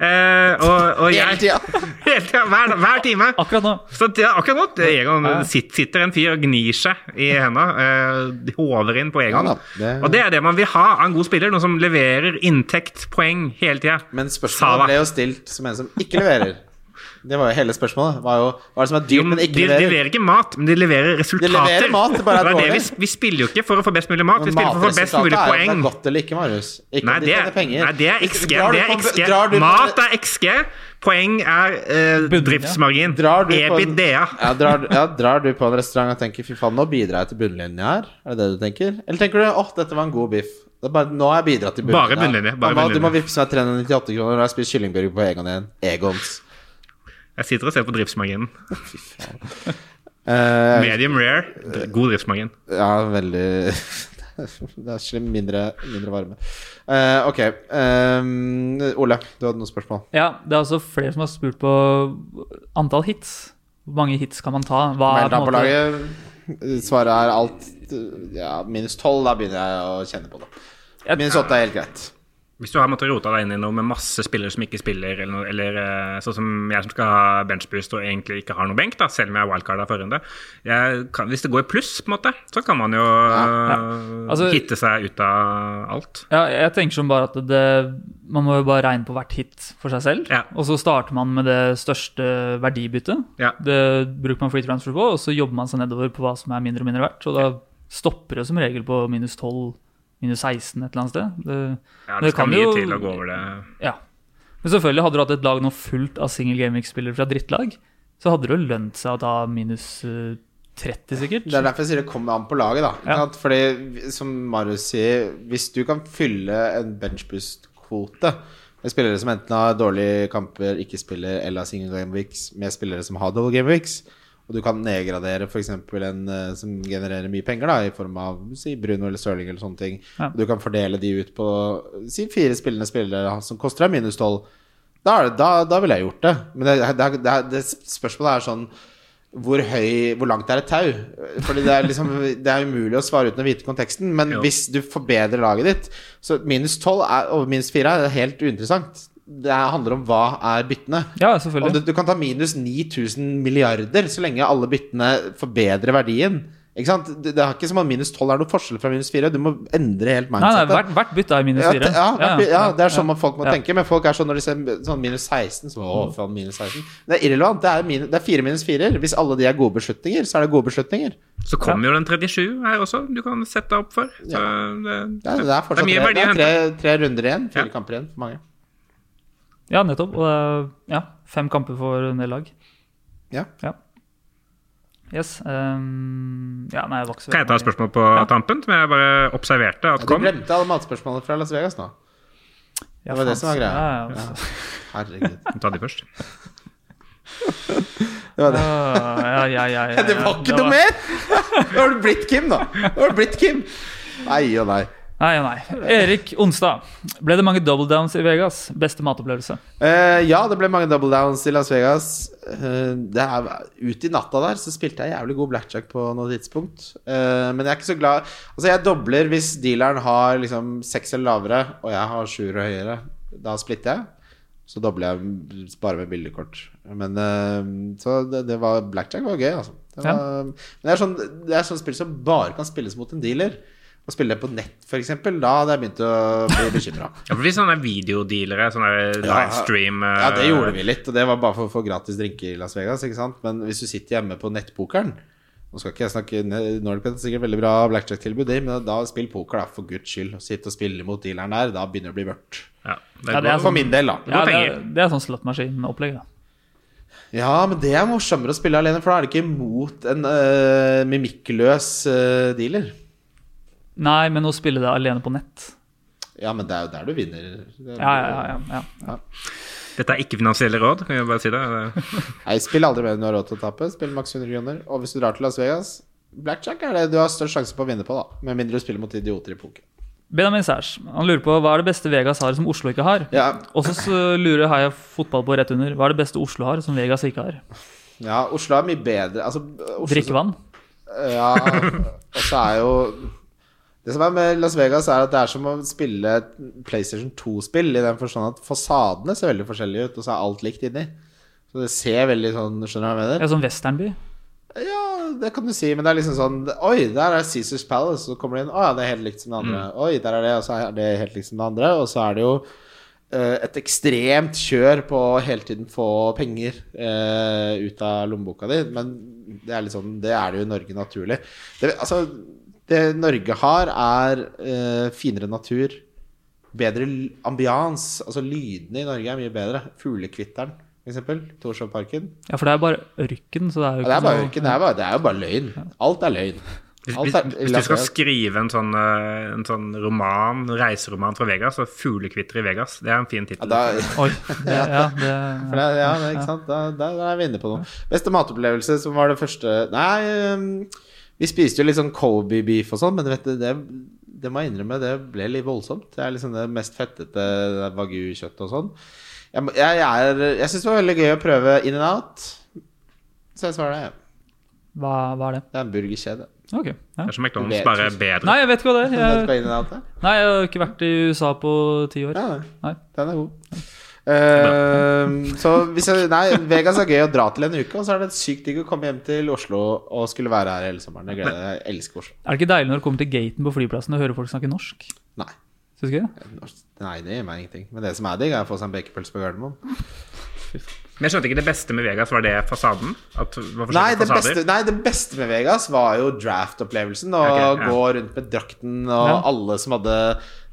E: Eh, og, og jeg
C: Hele tida.
E: [LAUGHS] Hele tida, hver, hver time.
D: Akkurat nå.
E: Så det er akkurat nå det er Egon sit- sitter en fyr og gnir seg i henda. Eh, håver inn på Egon.
C: Ja da, det-
E: Og det er det man vil ha av en god spiller. Noen som leverer inntekt, poeng, hele tida.
C: Men
E: Sala.
C: spørsmålet ble jo stilt som en som ikke leverer. Det var jo hele spørsmålet. Var jo, hva er det som er
E: Jo,
C: dyrt,
E: men
C: men
E: de,
C: ikke
E: de
C: leverer?
E: leverer ikke mat, men de leverer resultater.
C: leverer mat, det bare er
E: [LAUGHS] Det det vi,
C: dårlig.
E: vi spiller jo ikke for å få best mulig mat, vi
C: Men
E: spiller for å få best
C: matresultatet
E: mulig
C: er jo om
E: poeng.
C: Det er godt eller ikke, Marius. Ikke
E: Nei
C: om de
E: det,
C: tjener penger.
E: nei, det er
C: Hvis-
E: XG.
C: drar du
E: Det er
C: på-
E: XG.
C: drar du på-
E: Mat er XG, poeng er eh,
D: Bunnlinja.
E: driftsmargin.
C: Drar du på en,
E: EBITDA.
C: ja, drar, ja, drar du på en restaurant og tenker 'fy faen, nå bidrar jeg til bunnlinja her'? Er det det du tenker? Eller tenker du 'åh, dette var en god biff'? Det er bare, nå har jeg bidratt til bunnlinja.
E: Bare bunnlinje, bare
C: Mamma, Du må
E: bunnlinje.
C: vippse meg 398 kroner, og jeg spiser kyllingburger på Egon igjen. Egons.
E: Jeg sitter og ser på driftsmarginen.
C: Eh,
E: Medium rare, dr- god driftsmargin.
C: Ja, veldig [LAUGHS] Det er slem mindre, mindre varme. Eh, ok. eh, Ole, du hadde noen spørsmål.
D: Ja, det er også flere som har spurt på antall hits. Hvor mange hits kan man ta? Hva
C: Meld
D: på en
C: deg på
D: måte-
C: laget. Svaret er alt Ja, minus tolv. Da begynner jeg å kjenne på det. Minus åtte er helt greit.
E: Hvis du har måttet rote deg inn i noe med masse spillere som ikke spiller, eller, noe, eller eh, sånn som jeg som skal ha benchboost og egentlig ikke har noe benk, da, selv om jeg er wildcard av forrige runde jeg kan, Hvis det går i pluss, på en måte, så kan man jo eh,
D: Altså-
E: hitte seg ut av alt.
D: Ja, jeg tenker som bare at det, man må jo bare regne på hvert hit for seg selv.
E: Ja.
D: Og så starter man med det største verdibyttet.
E: Ja.
D: Det bruker man free transfer på, og så jobber man seg nedover på hva som er mindre og mindre verdt. Og da stopper det som regel på minus 12, minus 16 et eller annet sted. Det,
E: Ja,
D: men
E: det skal
D: kan
E: mye
D: jo-
E: til å gå over det.
D: Ja. Men selvfølgelig, hadde du hatt et lag nå fullt av single gaming-spillere fra drittlag, så hadde det jo lønt seg å ta minus eh, 30, sikkert.
C: Det er derfor jeg sier det kommer an på laget. da
D: Ja.
C: Ikke sant? Fordi som Marius sier, hvis du kan fylle en benchboost-kvote med spillere som enten har dårlige kamper, ikke spiller eller har single game weeks, med spillere som har double game weeks, og du kan nedgradere f.eks. en eh, som genererer mye penger, da i form av si Bruno eller Stirling eller sånne ting,
D: Ja.
C: og du kan fordele de ut på si fire spillende spillere som koster deg minus tolv, da, er det- da, da ville jeg gjort det. Men det, det, er- det, er- det spørsmålet er sånn hvor, høy, hvor langt er et tau? Fordi det er, liksom, [LAUGHS] det er umulig å svare uten å vite konteksten. Men
E: Jo.
C: hvis du forbedrer laget ditt Så minus 12 er, og minus 4 er helt uinteressant. Det handler om hva er byttene.
D: Ja,
C: Og du,
D: selvfølgelig.
C: du kan ta minus 9000 milliarder så lenge alle byttene forbedrer verdien. Ikke sant? Det, det er ikke som om minus 12 er noen forskjell fra minus 4. Du må endre helt
D: Nei, nei,
C: mindsetet.
D: hvert, hvert bytte er minus
C: Ja,
D: 4.
C: t- ja, hvert by- ja, det er sånn man folk må
D: ja.
C: tenke. Men folk er sånn når de ser sånn minus 16 så, Å, faen, minus 16 Det er irrelevant. Det er, min, det er fire minus fire. Hvis alle de er gode beslutninger, så er det gode beslutninger.
E: Så kommer jo den 37 her også, du kan sette deg opp for. Så det,
C: Det er, det er fortsatt
E: mye
C: tre,
E: verdi
C: det
E: å
C: er tre,
E: hente.
C: tre runder igjen. Fire
E: Ja.
C: kamper igjen for mange.
D: Ja, nettopp. Og det er ja, fem kamper for en del lag.
C: Ja.
D: Yes. ehm, ja, nei, det var ikke så
E: Kan jeg ta et spørsmål på tampen, som jeg bare observerte at
C: Du
E: kom?
C: glemte alle matspørsmålene fra Las Vegas nå.
D: Ja,
C: Det var det
D: faen,
C: som var greia.
D: Ja, ja, altså.
C: [LAUGHS] Herregud.
E: Ta de først.
C: Det var det.
D: Ah, ja, ja, ja,
C: [LAUGHS]
D: ja, ja.
C: Det var ikke noe mer! Nå har du blitt Kim, da. Nå har du blitt Kim. Nei og nei.
D: Nei og nei. Erik Onstad. Ble det mange double downs i Vegas? Beste matopplevelse?
C: Eh, ja, det ble mange double downs i Las Vegas. Eh, det er, ut i natta der så spilte jeg jævlig god blackjack på noe tidspunkt. Eh, men jeg er ikke så glad Altså, jeg dobler hvis dealeren har liksom seks eller lavere, og jeg har sjuer og høyere. Da splitter jeg. Så dobler jeg bare med bildekort. Men eh, så det, det var Blackjack var gøy, altså. Det var, Men det er, sånn, det er sånn spill som bare kan spilles mot en dealer. Å spille det på nett, f.eks., da hadde jeg begynt å bli bekymra.
E: Ja, for vi er sånne videodealere, sånne livestream eh,
C: Ja, det gjorde vi litt, og det var bare for å få gratis drinker i Las Vegas. ikke sant? Men hvis du sitter hjemme på nettpokeren Nå skal ikke jeg snakke Nordic Pet, sikkert veldig bra blackjack-tilbud, det, men da spill poker, da, for guds skyld. Og Sitt og spille mot dealeren der, da begynner det å bli mørkt.
E: Ja, det
D: Ja, det er
E: går-
C: For min del, da.
D: Ja, det, er,
E: penger.
D: det er sånn slåttmaskin-opplegg. da.
C: Ja, men det er morsommere å spille alene, for da er det ikke imot en øh, mimikkløs øh, dealer.
D: Nei, men å spille det alene på nett.
C: Ja, men det er jo der du vinner. Det er-
D: Ja, ja, ja, ja, ja.
E: Dette er ikke finansielle råd, kan jeg bare si det.
C: Nei, spill aldri mer enn du har råd til å tape. Spill maks 100 kroner. Og hvis du drar til Las Vegas, blackjack er det du har størst sjanse på å vinne på, da. Med mindre du spiller mot idioter i poker.
D: Benjamin Sæsj han lurer på hva er det beste Vegas har som Oslo ikke har.
C: Ja,
D: Og så så lurer Heia fotball på rett under. Hva er det beste Oslo har som Vegas ikke har?
C: ja Oslo er mye bedre altså, Oslo,
D: Drikkevann.
C: Ja, og så er jo Det som er med Las Vegas, er at det er som å spille et PlayStation 2-spill, i den forstand at fasadene ser veldig forskjellige ut, og så er alt likt inni. Så det ser veldig sånn Skjønner du hva jeg mener?
D: Ja, sånn westernby.
C: Ja, det kan du si, men det er liksom sånn Oi, der er Caesars Palace, og så kommer det inn Å ja, det er helt likt som det andre. Oi, der er det, og så er det helt likt som det andre. Og så er det jo eh, et ekstremt kjør på å hele tiden få penger eh, ut av lommeboka di, men det er litt sånn Det er det jo i Norge naturlig. Det, altså, det Norge har, er eh, finere natur, bedre l- ambians. Altså lydene i Norge er mye bedre. Fuglekvitteren, for eksempel. Torshovparken.
D: Ja, for det er bare ørken, så det er
C: Ja,
D: jo
C: det er bare
D: så-
C: ørken. Det er, bare, det er jo bare løgn. Alt er løgn.
E: Hvis,
C: Alt
E: hvis,
C: er,
E: hvis du skal skrive en sånn, eh, en sånn roman, reiseroman fra Vegas, så 'Fuglekvitter i Vegas', det er en fin
C: ja,
E: tittel.
C: da,
D: Oi, det, ja, det,
C: for det, ja, det, er ikke sant? Da, da, da er vi inne på noe. Beste matopplevelse, som var det første Nei, ehm, vi spiste jo litt sånn Kobe beef og sånn, men vet du, det, det må jeg innrømme, det ble litt voldsomt. Det er liksom det mest fettete wagyu-kjøttet og sånn. Jeg, må- jeg, jeg, er- jeg syns det var veldig gøy å prøve in and out. Så jeg svarer det.
D: hva, hva er det?
C: Det er en burgerkjede.
D: Ok. Ja.
E: Det er som McDonald's,
C: Vet-
E: bare bedre.
D: Nei, jeg vet ikke hva det er.
C: Vet du
D: Jeg,
C: hva in and out er?
D: nei, jeg har ikke vært i USA på ti år.
C: Ja,
D: Nei.
C: den er god. Eh, så hvis jeg, nei, Vegas er gøy å dra til en uke, og så er det sykt digg å komme hjem til Oslo og skulle være her hele sommeren. Jeg, gleder, jeg elsker Oslo.
D: Er det ikke deilig når du kommer til gaten på flyplassen og hører folk snakke norsk?
C: Nei.
D: Synes ikke det?
C: Nei, det gjør meg ingenting. Men det som er digg, er å få seg en bekepølse på Gardermoen.
E: Men jeg skjønte ikke det beste med Vegas, var det fasaden? At det
C: Nei
E: var forskjellige
C: det,
E: fasader?
C: beste, nei, det beste med Vegas var jo draft-opplevelsen. Å
E: Ok, ja.
C: gå rundt med drakten og
D: Ja.
C: alle som hadde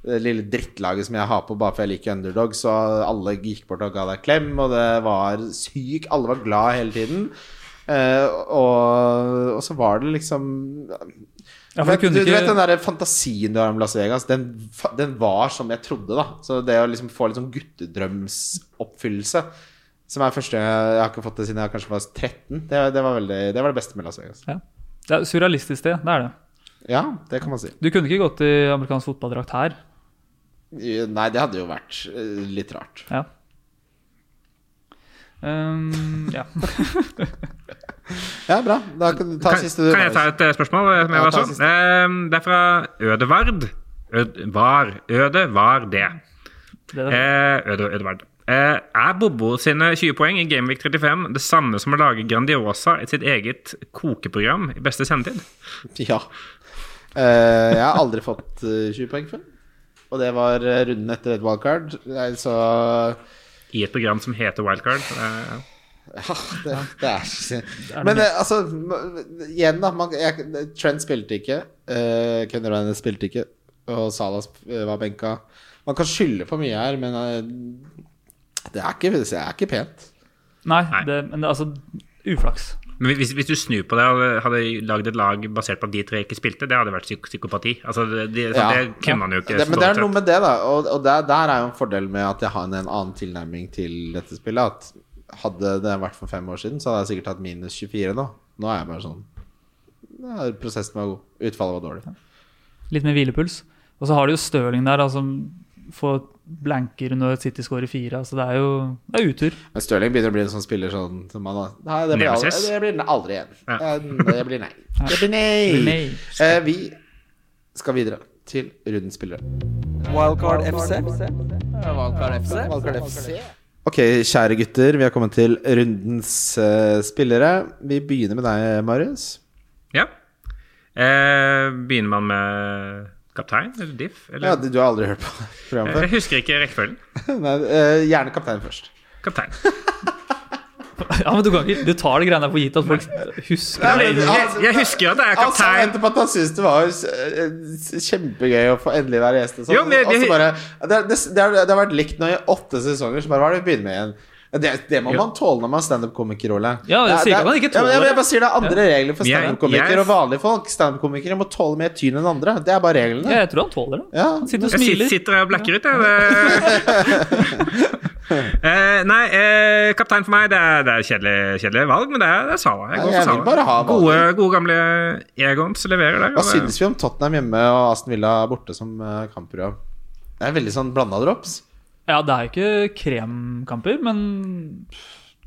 C: det lille drittlaget som jeg har på bare for jeg liker underdogs, Så alle gikk bort og ga deg klem, og det var syk Alle var glad hele tiden. Eh, og, og så var det liksom
D: Ja, for du
C: du,
D: kunne
C: du vet den
D: ikke
C: der fantasien du har om Las Vegas, den, fa- den var som jeg trodde, da. Så det å liksom få litt sånn guttedrømsoppfyllelse, som er første gang Jeg har ikke fått det siden jeg kanskje var 13. Det, det, var, veldig, det var det beste med Las Vegas.
D: ja. Det er surrealistisk, det. Det er det.
C: Ja, det kan man si.
D: Du kunne ikke gått i amerikansk fotballdrakt her.
C: Nei, det hadde jo vært eh, litt rart.
D: Ja. Um, ja.
C: Ja, bra. Da kan du ta
E: Kan,
C: siste du.
E: kan jeg ta et eh, spørsmål? eh, Som jeg
C: Ja,
E: var
C: ta
E: sånn? Eh, det er fra Ødevard. Ød, var. Øde var det.
D: Det er det.
E: Eh, Øde, Ødevard. Eh, er Bobo sine 20 poeng i Gameweek 35 det samme som å lage Grandiosa i sitt eget kokeprogram i beste sendetid?
C: Ja. Eh, jeg har aldri fått eh, 20 poeng før. Og det var eh, runden etter et wildcard. Nei, Så
E: I et program som heter Wildcard. Eh,
C: Ja, det, det er ikke Men eh, altså, m- igjen, da. Man, jeg, Trent spilte ikke. Uh, Ken Ryan spilte ikke. Og Salas eh, var benka. Man kan skylde på mye her, men eh, det er ikke, det er ikke pent.
D: Nei,
E: Nei.
D: det, men det er altså uflaks.
E: Men hvis, hvis du snur på det og hadde lagd et lag basert på at de tre ikke spilte, det hadde vært psyk psykopati. Altså, det, de, så
C: Ja.
E: det kunne man jo ikke.
C: det, men
E: så
C: det er
E: dårlig
C: noe
E: sett.
C: med det, da. Og, og der, der er jo en fordel med at jeg har en, en annen tilnærming til dette spillet. At hadde det vært for fem år siden, så hadde jeg sikkert hatt minus 24 nå. Nå er jeg bare sånn ja, Prosessen var god. Utfallet var dårlig.
D: Litt mer hvilepuls. Og så har du jo Stirling der, da, som får blanker når City scorer fire. Altså, det er jo det er utur.
C: Men Stirling begynner å bli en sånn spiller sånn som man da Nei, det blir aldri,
E: Nemesis.
C: det blir aldri igjen.
E: Ja.
C: Eh, Det blir nei. Det blir nei.
D: Nei.
C: Eh, Vi skal videre til rundens spillere.
A: Wildcard FC.
B: Valkar FC.
A: Wildcard FC.
C: Ok, kjære gutter, vi har kommet til rundens eh, spillere. Vi begynner med deg, Marius.
E: Ja. Eh, begynner man med kaptein eller diff?
C: Ja,
E: Eller?
C: du du har aldri hørt på programmet [LAUGHS] før?
E: jeg husker ikke rekkefølgen.
C: Nei, eh, gjerne kaptein først. [LAUGHS]
E: Kaptein.
D: [LAUGHS] Ja, men du, kan ikke, du tar de greiene der for gitt at folk husker det.
E: Jeg, jeg, jeg husker at det er
C: Han sa
E: kaptein.
C: etterpå at han syntes det var eh, s- kjempegøy å få endelig være gjest. Og sånn.
E: Jo, men-
C: Og så bare, det, det, det, har, det har vært likt nå i åtte sesonger, så bare hva er det vi begynner med igjen? Det, det må man tåle når man er standup-komiker, Ole.
D: Ja,
C: Det er-
D: jeg sier ikke
C: det er-
D: at man ikke
C: Ja, men jeg,
D: tåler
C: jeg bare sier det er andre regler for
E: Jeg- jeg-
C: standup-komikere og vanlige folk. Standup-komikere må tåle mer tyn enn andre. Det er bare reglene.
D: Jeg tror han tåler det.
C: Ja.
D: Han sitter og
E: Jeg sit-
D: smiler.
E: sitter og blacker ut, jeg. Det... Eh, nei, eh, kaptein for meg, det er, det er kjedelig, kjedelig valg, men det er, det er Sala. Jeg
C: Ja,
E: går
C: jeg
E: for
C: vil bare
E: Sala.
C: ha valg.
E: Gode, gode gamle Egons leverer der.
C: Hva
E: og det-
C: syns vi om Tottenham hjemme og Aston Villa borte som eh, kampprogram? Det er veldig sånn blanda drops.
D: Ja, det er jo ikke kremkamper, men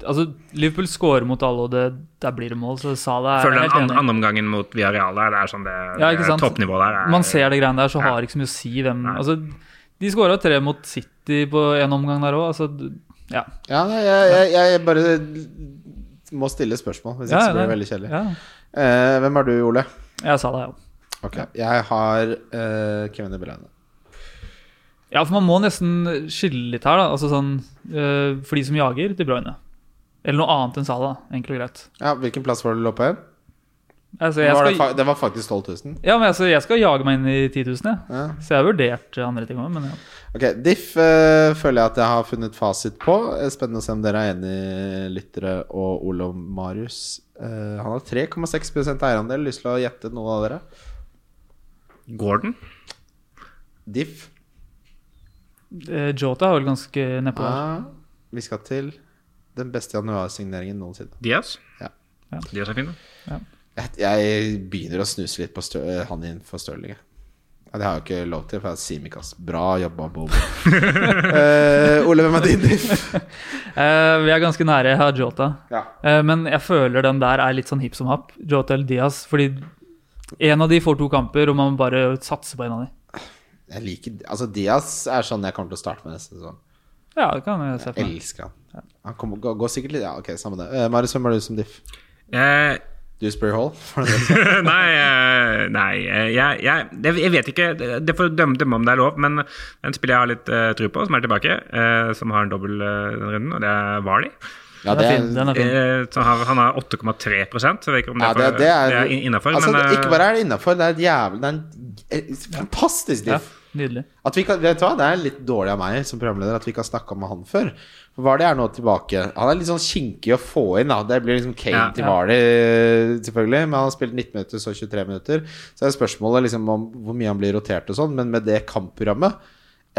D: Altså, Liverpool scorer mot alle, og det, der blir det mål, så Salah
E: Føler
D: er
E: den
D: helt
E: andre,
D: enig.
E: andre omgangen mot Villarreal der, det er sånn det,
D: Ja, ikke
E: det
D: sant?
E: toppnivået der. Er,
D: Man ser det greiene der, så
E: Ja.
D: har det ikke så mye å si hvem
E: Nei.
D: Altså, de skåra tre mot City på en omgang der òg, altså d- Ja.
C: Ja, nei, jeg, jeg, jeg bare må stille spørsmål, hvis ikke
D: Ja,
C: så blir det
D: nei.
C: veldig kjedelig.
D: ja.
C: Eh, hvem er du, Ole?
D: Jeg sa det, jeg òg.
C: Ok, Jeg har eh, Kevin De Bruyne.
D: Ja, for man må nesten skille litt her, da. Altså sånn eh, For de som jager, De Bruyne. Eller noe annet enn Salah, enkelt og greit.
C: Ja, hvilken plass var det du lå på igjen?
D: Altså,
C: Det
D: jeg
C: var, det,
D: skal,
C: fa- det var faktisk 12 000.
D: ja, men altså, jeg skal jage meg inn i 10 000, jeg.
C: Ja.
D: Så jeg har vurdert andre ting òg, men ja.
C: Ok, Diff eh, føler jeg at jeg har funnet fasit på. Eh, Spennende å se om dere er enig, lyttere og Ole og Marius. Eh, han har 3,6 eierandel. Lyst til å gjette noen av dere?
E: Gordon?
C: Diff.
D: Eh, Jota er vel ganske nedpå der.
C: Ah, vi skal til den beste januarsigneringen noensinne.
E: Diaz?
C: Ja.
D: Ja.
E: Diaz er fin, da.
C: Jeg, jeg begynner å snuse litt på stø eh, han innenfor Stirling. jeg. Ja, det har jeg jo ikke lov til, for jeg er Simikaz. Bra jobba, Bob.
E: [LAUGHS]
C: Eh, Ole, hvem er din diff?
D: Eh, vi er ganske nære. Jeg har Jota.
C: Ja.
D: Eh, men jeg føler den der er litt sånn hipp som happ. Jota eller Diaz. Fordi en av de får to kamper, og man må bare satser på en av de.
C: Jeg liker Altså, Diaz er sånn jeg kommer til å starte med neste sesong.
D: Ja, det kan jeg se for meg.
C: Elsker han. Han kommer, går, går sikkert litt Ja, ok, samme det. Eh, Marius, hvem er du som diff?
E: Eh, [LAUGHS]
C: Du spør Hall? For det
E: nei, eh, nei eh, jeg, jeg, det- jeg vet ikke. Det det får dømme, dømme om det er lov, men en spiller jeg har litt eh, tro på, som er tilbake, eh, som har en dobbel eh, denne runden, og det er Varley.
C: ja,
D: Den er fin. Den er fin.
E: Eh, så har, han har 8,3 så jeg vet ikke om
C: Mm. Ja,
E: det, er, for- det er innafor.
C: altså,
E: men eh,
C: Ikke bare er det innafor, det er et jævlig Det er en eh, fantastisk
D: Ja,
C: diff.
D: nydelig.
C: At vi kan, vet du hva, Det er litt dårlig av meg som programleder at vi ikke har snakka med han før. For Vardy er nå tilbake. Han er litt sånn kinkig å få inn. da Det blir liksom Kane
E: Ja.
C: til
D: Ja.
C: Vardy, eh, selvfølgelig. Men han har spilt 19 minutter, så 23 minutter. Så er spørsmålet liksom om hvor mye han blir rotert og sånn. Men med det kampprogrammet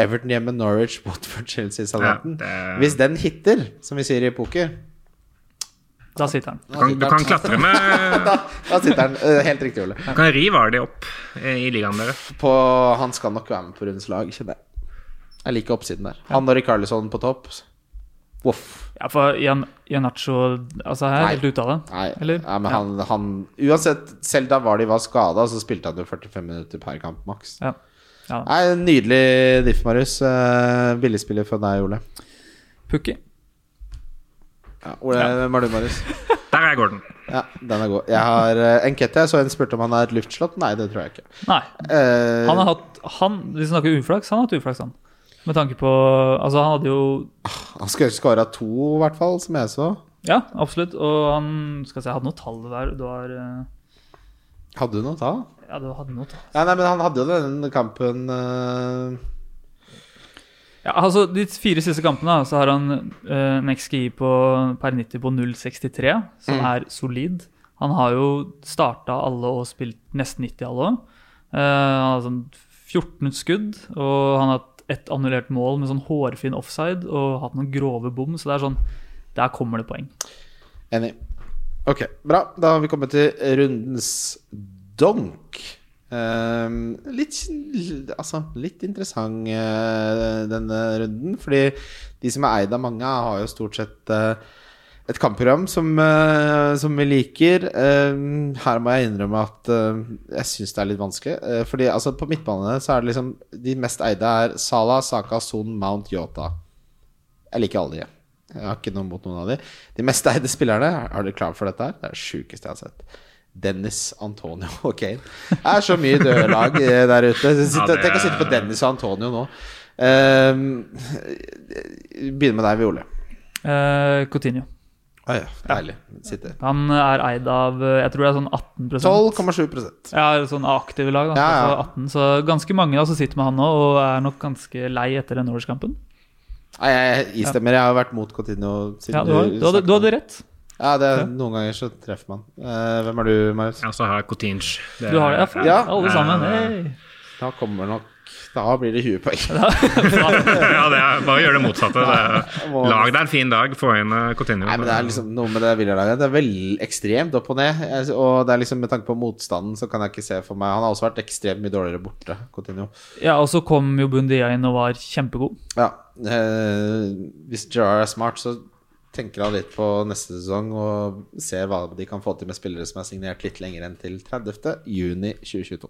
C: Everton hjemme, Norwich, Watford, Chelsea, Southampton
E: Ja, det-
C: Hvis den hitter, som vi sier i poker
D: Da sitter han.
E: du, kan,
C: [LAUGHS]
E: du kan klatre med
C: Da sitter han. Eh, Helt riktig, Ole.
E: Du kan ri Varley opp eh, i ligaen deres.
C: på, Han skal nok være med på rundens lag, kjenner jeg. Jeg liker oppsiden der. Han og Rikarlison på topp. Voff.
D: Ja, for Jan, Janacho altså, jeg er
C: Nei.
D: helt ute av det.
C: Nei,
D: Eller?
C: ja, men han, han Uansett, selv da Vardy var skada, så spilte han jo 45 minutter per kamp maks.
D: Ja. Ja.
C: Nei, Nydelig diff, Marius. Eh, Billigspiller for deg, Ole.
D: Pukki.
C: Ja, Ole, Hvem er du, Marius?
E: Der er Gordon.
C: Ja, Den er god. Jeg har eh, Enkete. Så en spurte om han er et luftslott. Nei, det tror jeg ikke.
D: Nei.
C: Eh,
D: Han har hatt han, Hvis vi snakker uflaks, han har hatt uflaks, han. Med tanke på Altså, han hadde jo
C: han skulle skåra to, i hvert fall, som jeg så.
D: Ja, absolutt. Og han Skal vi se, jeg hadde noe tall der. Du har eh,
C: Hadde du noe tall?
D: Ja, du hadde noe tall.
C: Ja, nei, men han hadde jo den kampen eh,
D: Ja, altså De fire siste kampene da, så har han eh, en XGI på, per 90 på 0,63, som er solid. Han har jo starta alle og spilt nesten 90 alle. Eh, han har sånn 14 skudd, og han har hatt ett annullert mål med sånn hårfin offside og hatt noen grove bom, så det er sånn Der kommer det poeng.
C: Enig. Ok, bra. Da har vi kommet til rundens donk. Ehm, litt, altså, litt interessant eh, denne runden, fordi de som er eid av mange, har jo stort sett eh, et kampprogram som, eh, som vi liker. Ehm, her må jeg innrømme at eh, jeg syns det er litt vanskelig. Eh, fordi altså, på midtbanene så er det liksom De mest eide er Salah, Saka, Son, Mount, Yota. Jeg liker alle de. Jeg har ikke noe mot noen av de. De mest eide spillerne, er dere klar for dette her? Det er det sjukeste jeg har sett. Dennis, Antonio og Kane. Det er så mye døde lag eh, der ute. Sitt,
E: Ja, det er-
C: Tenk å sitte på Dennis og Antonio nå. Ehm, Begynner med deg, Viole.
D: Eh, Coutinho.
C: Ah, ja. Deilig. Sitter.
D: Han er eid av eh, jeg tror det er sånn 18
C: 12,7
D: Ja, sånn aktive lag. Da.
C: Ja, ja.
D: Altså 18, så ganske mange da, som sitter med han nå, og er nok ganske lei etter den Norwich-kampen.
C: Nei, jeg istemmer. Jeg har vært mot Coutinho siden
D: Ja, du, har- du, hadde- du hadde rett.
C: Ja, det er, Noen ganger så treffer man. Eh, hvem er du, Marius?
E: Og så har jeg Coutinge. Det-
D: Du har det, ja, faen,
C: Ja.
D: Alle sammen. Hey.
C: Da kommer nok Da blir det 20 poeng.
E: ja, det er, bare gjør det motsatte. Det er,
C: [LAUGHS] må-
E: lag deg en fin dag, få inn eh, Coutinho.
C: Nei, men Det er liksom noe med det Villa-laget. Det er veldig ekstremt opp og ned. Jeg- Og det er liksom Med tanke på motstanden så kan jeg ikke se for meg Han har også vært ekstremt mye dårligere borte. Coutinho.
D: Ja, og så kom jo Bundia inn og var kjempegod.
C: Ja, eh, Hvis Gerrard er smart, så tenker han litt på neste sesong og ser hva de kan få til med spillere som er signert litt lenger enn til 30. juni 2022.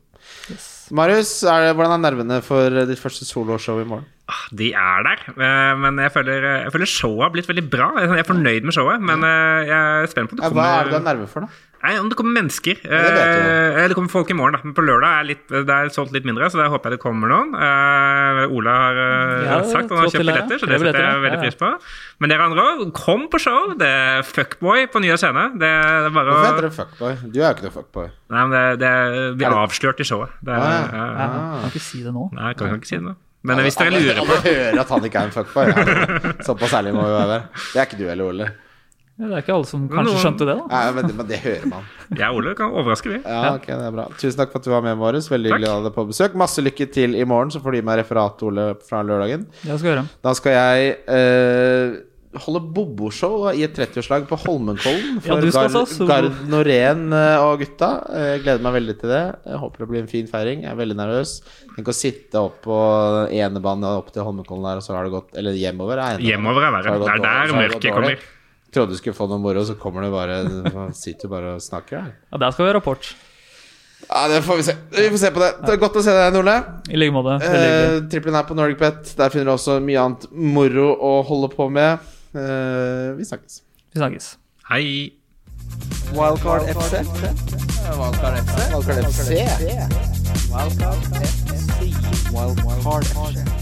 C: Marius, er det, hvordan er nervene for ditt første soloshow i morgen?
E: Ah, De er der, eh, men jeg føler, jeg føler showet har blitt veldig bra. Jeg er fornøyd med showet, men eh, jeg er spent på om
C: Ja,
E: det
C: hva er det du er
E: kommer,
C: nerve for, da?
E: nei, om det kommer mennesker.
C: Ja, det vet du
E: Eh, Eller det kommer folk i morgen, da. Men på lørdag er litt, det er solgt litt mindre, så jeg håper jeg det kommer noen. Eh, Ola har eh,
D: Ja,
E: sagt han har
D: trådt til
E: kjøpt
D: lære.
E: billetter, så
D: Tre
E: det setter jeg
D: billetter, ja.
E: veldig pris på. Men dere andre òg, kom på show. Det er Fuckboy på nye scene. Det er bare
C: Hvorfor heter
E: å
C: det fuckboy? Du er jo ikke noe fuckboy.
E: Nei, men det, det er- vi
C: Er
E: er
C: det-
E: avslørt i showet. Det er,
C: Ah, ja.
E: ja, ja.
D: Ja, jeg kan ikke si det nå.
E: Nei, jeg kan, kan ikke si det nå. Men hvis dere lurer
C: Alle hører at han ikke er en fuckboy. Ja. Såpass ærlig må vi være. Det er ikke du heller, Ole.
D: Ja, Det er ikke alle som kanskje
E: Noen-
D: skjønte det, da.
C: Nei, men, det, men det hører man.
E: Jeg og Ole kan overraske, vi.
C: Ja, ok, det er bra Tusen takk for at du var med, Marius. Veldig hyggelig å ha deg på besøk. Masse lykke til i morgen, så får du gi meg referat, Ole, fra lørdagen.
D: Det skal jeg gjøre.
C: Da skal jeg eh, holde boboshow i et 30-årslag på Holmenkollen for
D: Ja, du skal
C: Gard,
D: også, så-
C: Gard Norén eh, og gutta. Eh, Jeg gleder meg veldig til det. Jeg håper det blir en fin feiring. Jeg er veldig nervøs. Tenk å sitte opp på enebanen og opp til Holmenkollen der, og så har det gått Eller hjemover. er enebanen.
E: Hjemover er
C: Så har
E: verre. Det
C: gått
E: er
C: dårlig,
E: der
C: så har det gått
E: mørket
C: dårlig.
E: kommer.
C: Trodde du skulle få noe moro, så kommer det bare Sitter du bare og snakker, da.
D: Ja, Der skal vi ha rapport.
C: Ja, det får vi se. Vi får se på det. det er godt å se deg, Nole.
D: I like måte. veldig hyggelig.
C: Eh, Trippelen her på Nordic Bet. Der finner du også mye annet moro å holde på med. Eh, vi snakkes.
D: Vi snakkes.
E: Hei.
A: Wildcard FC. Wildcard FC. Wildcard FC. Wildcard FC.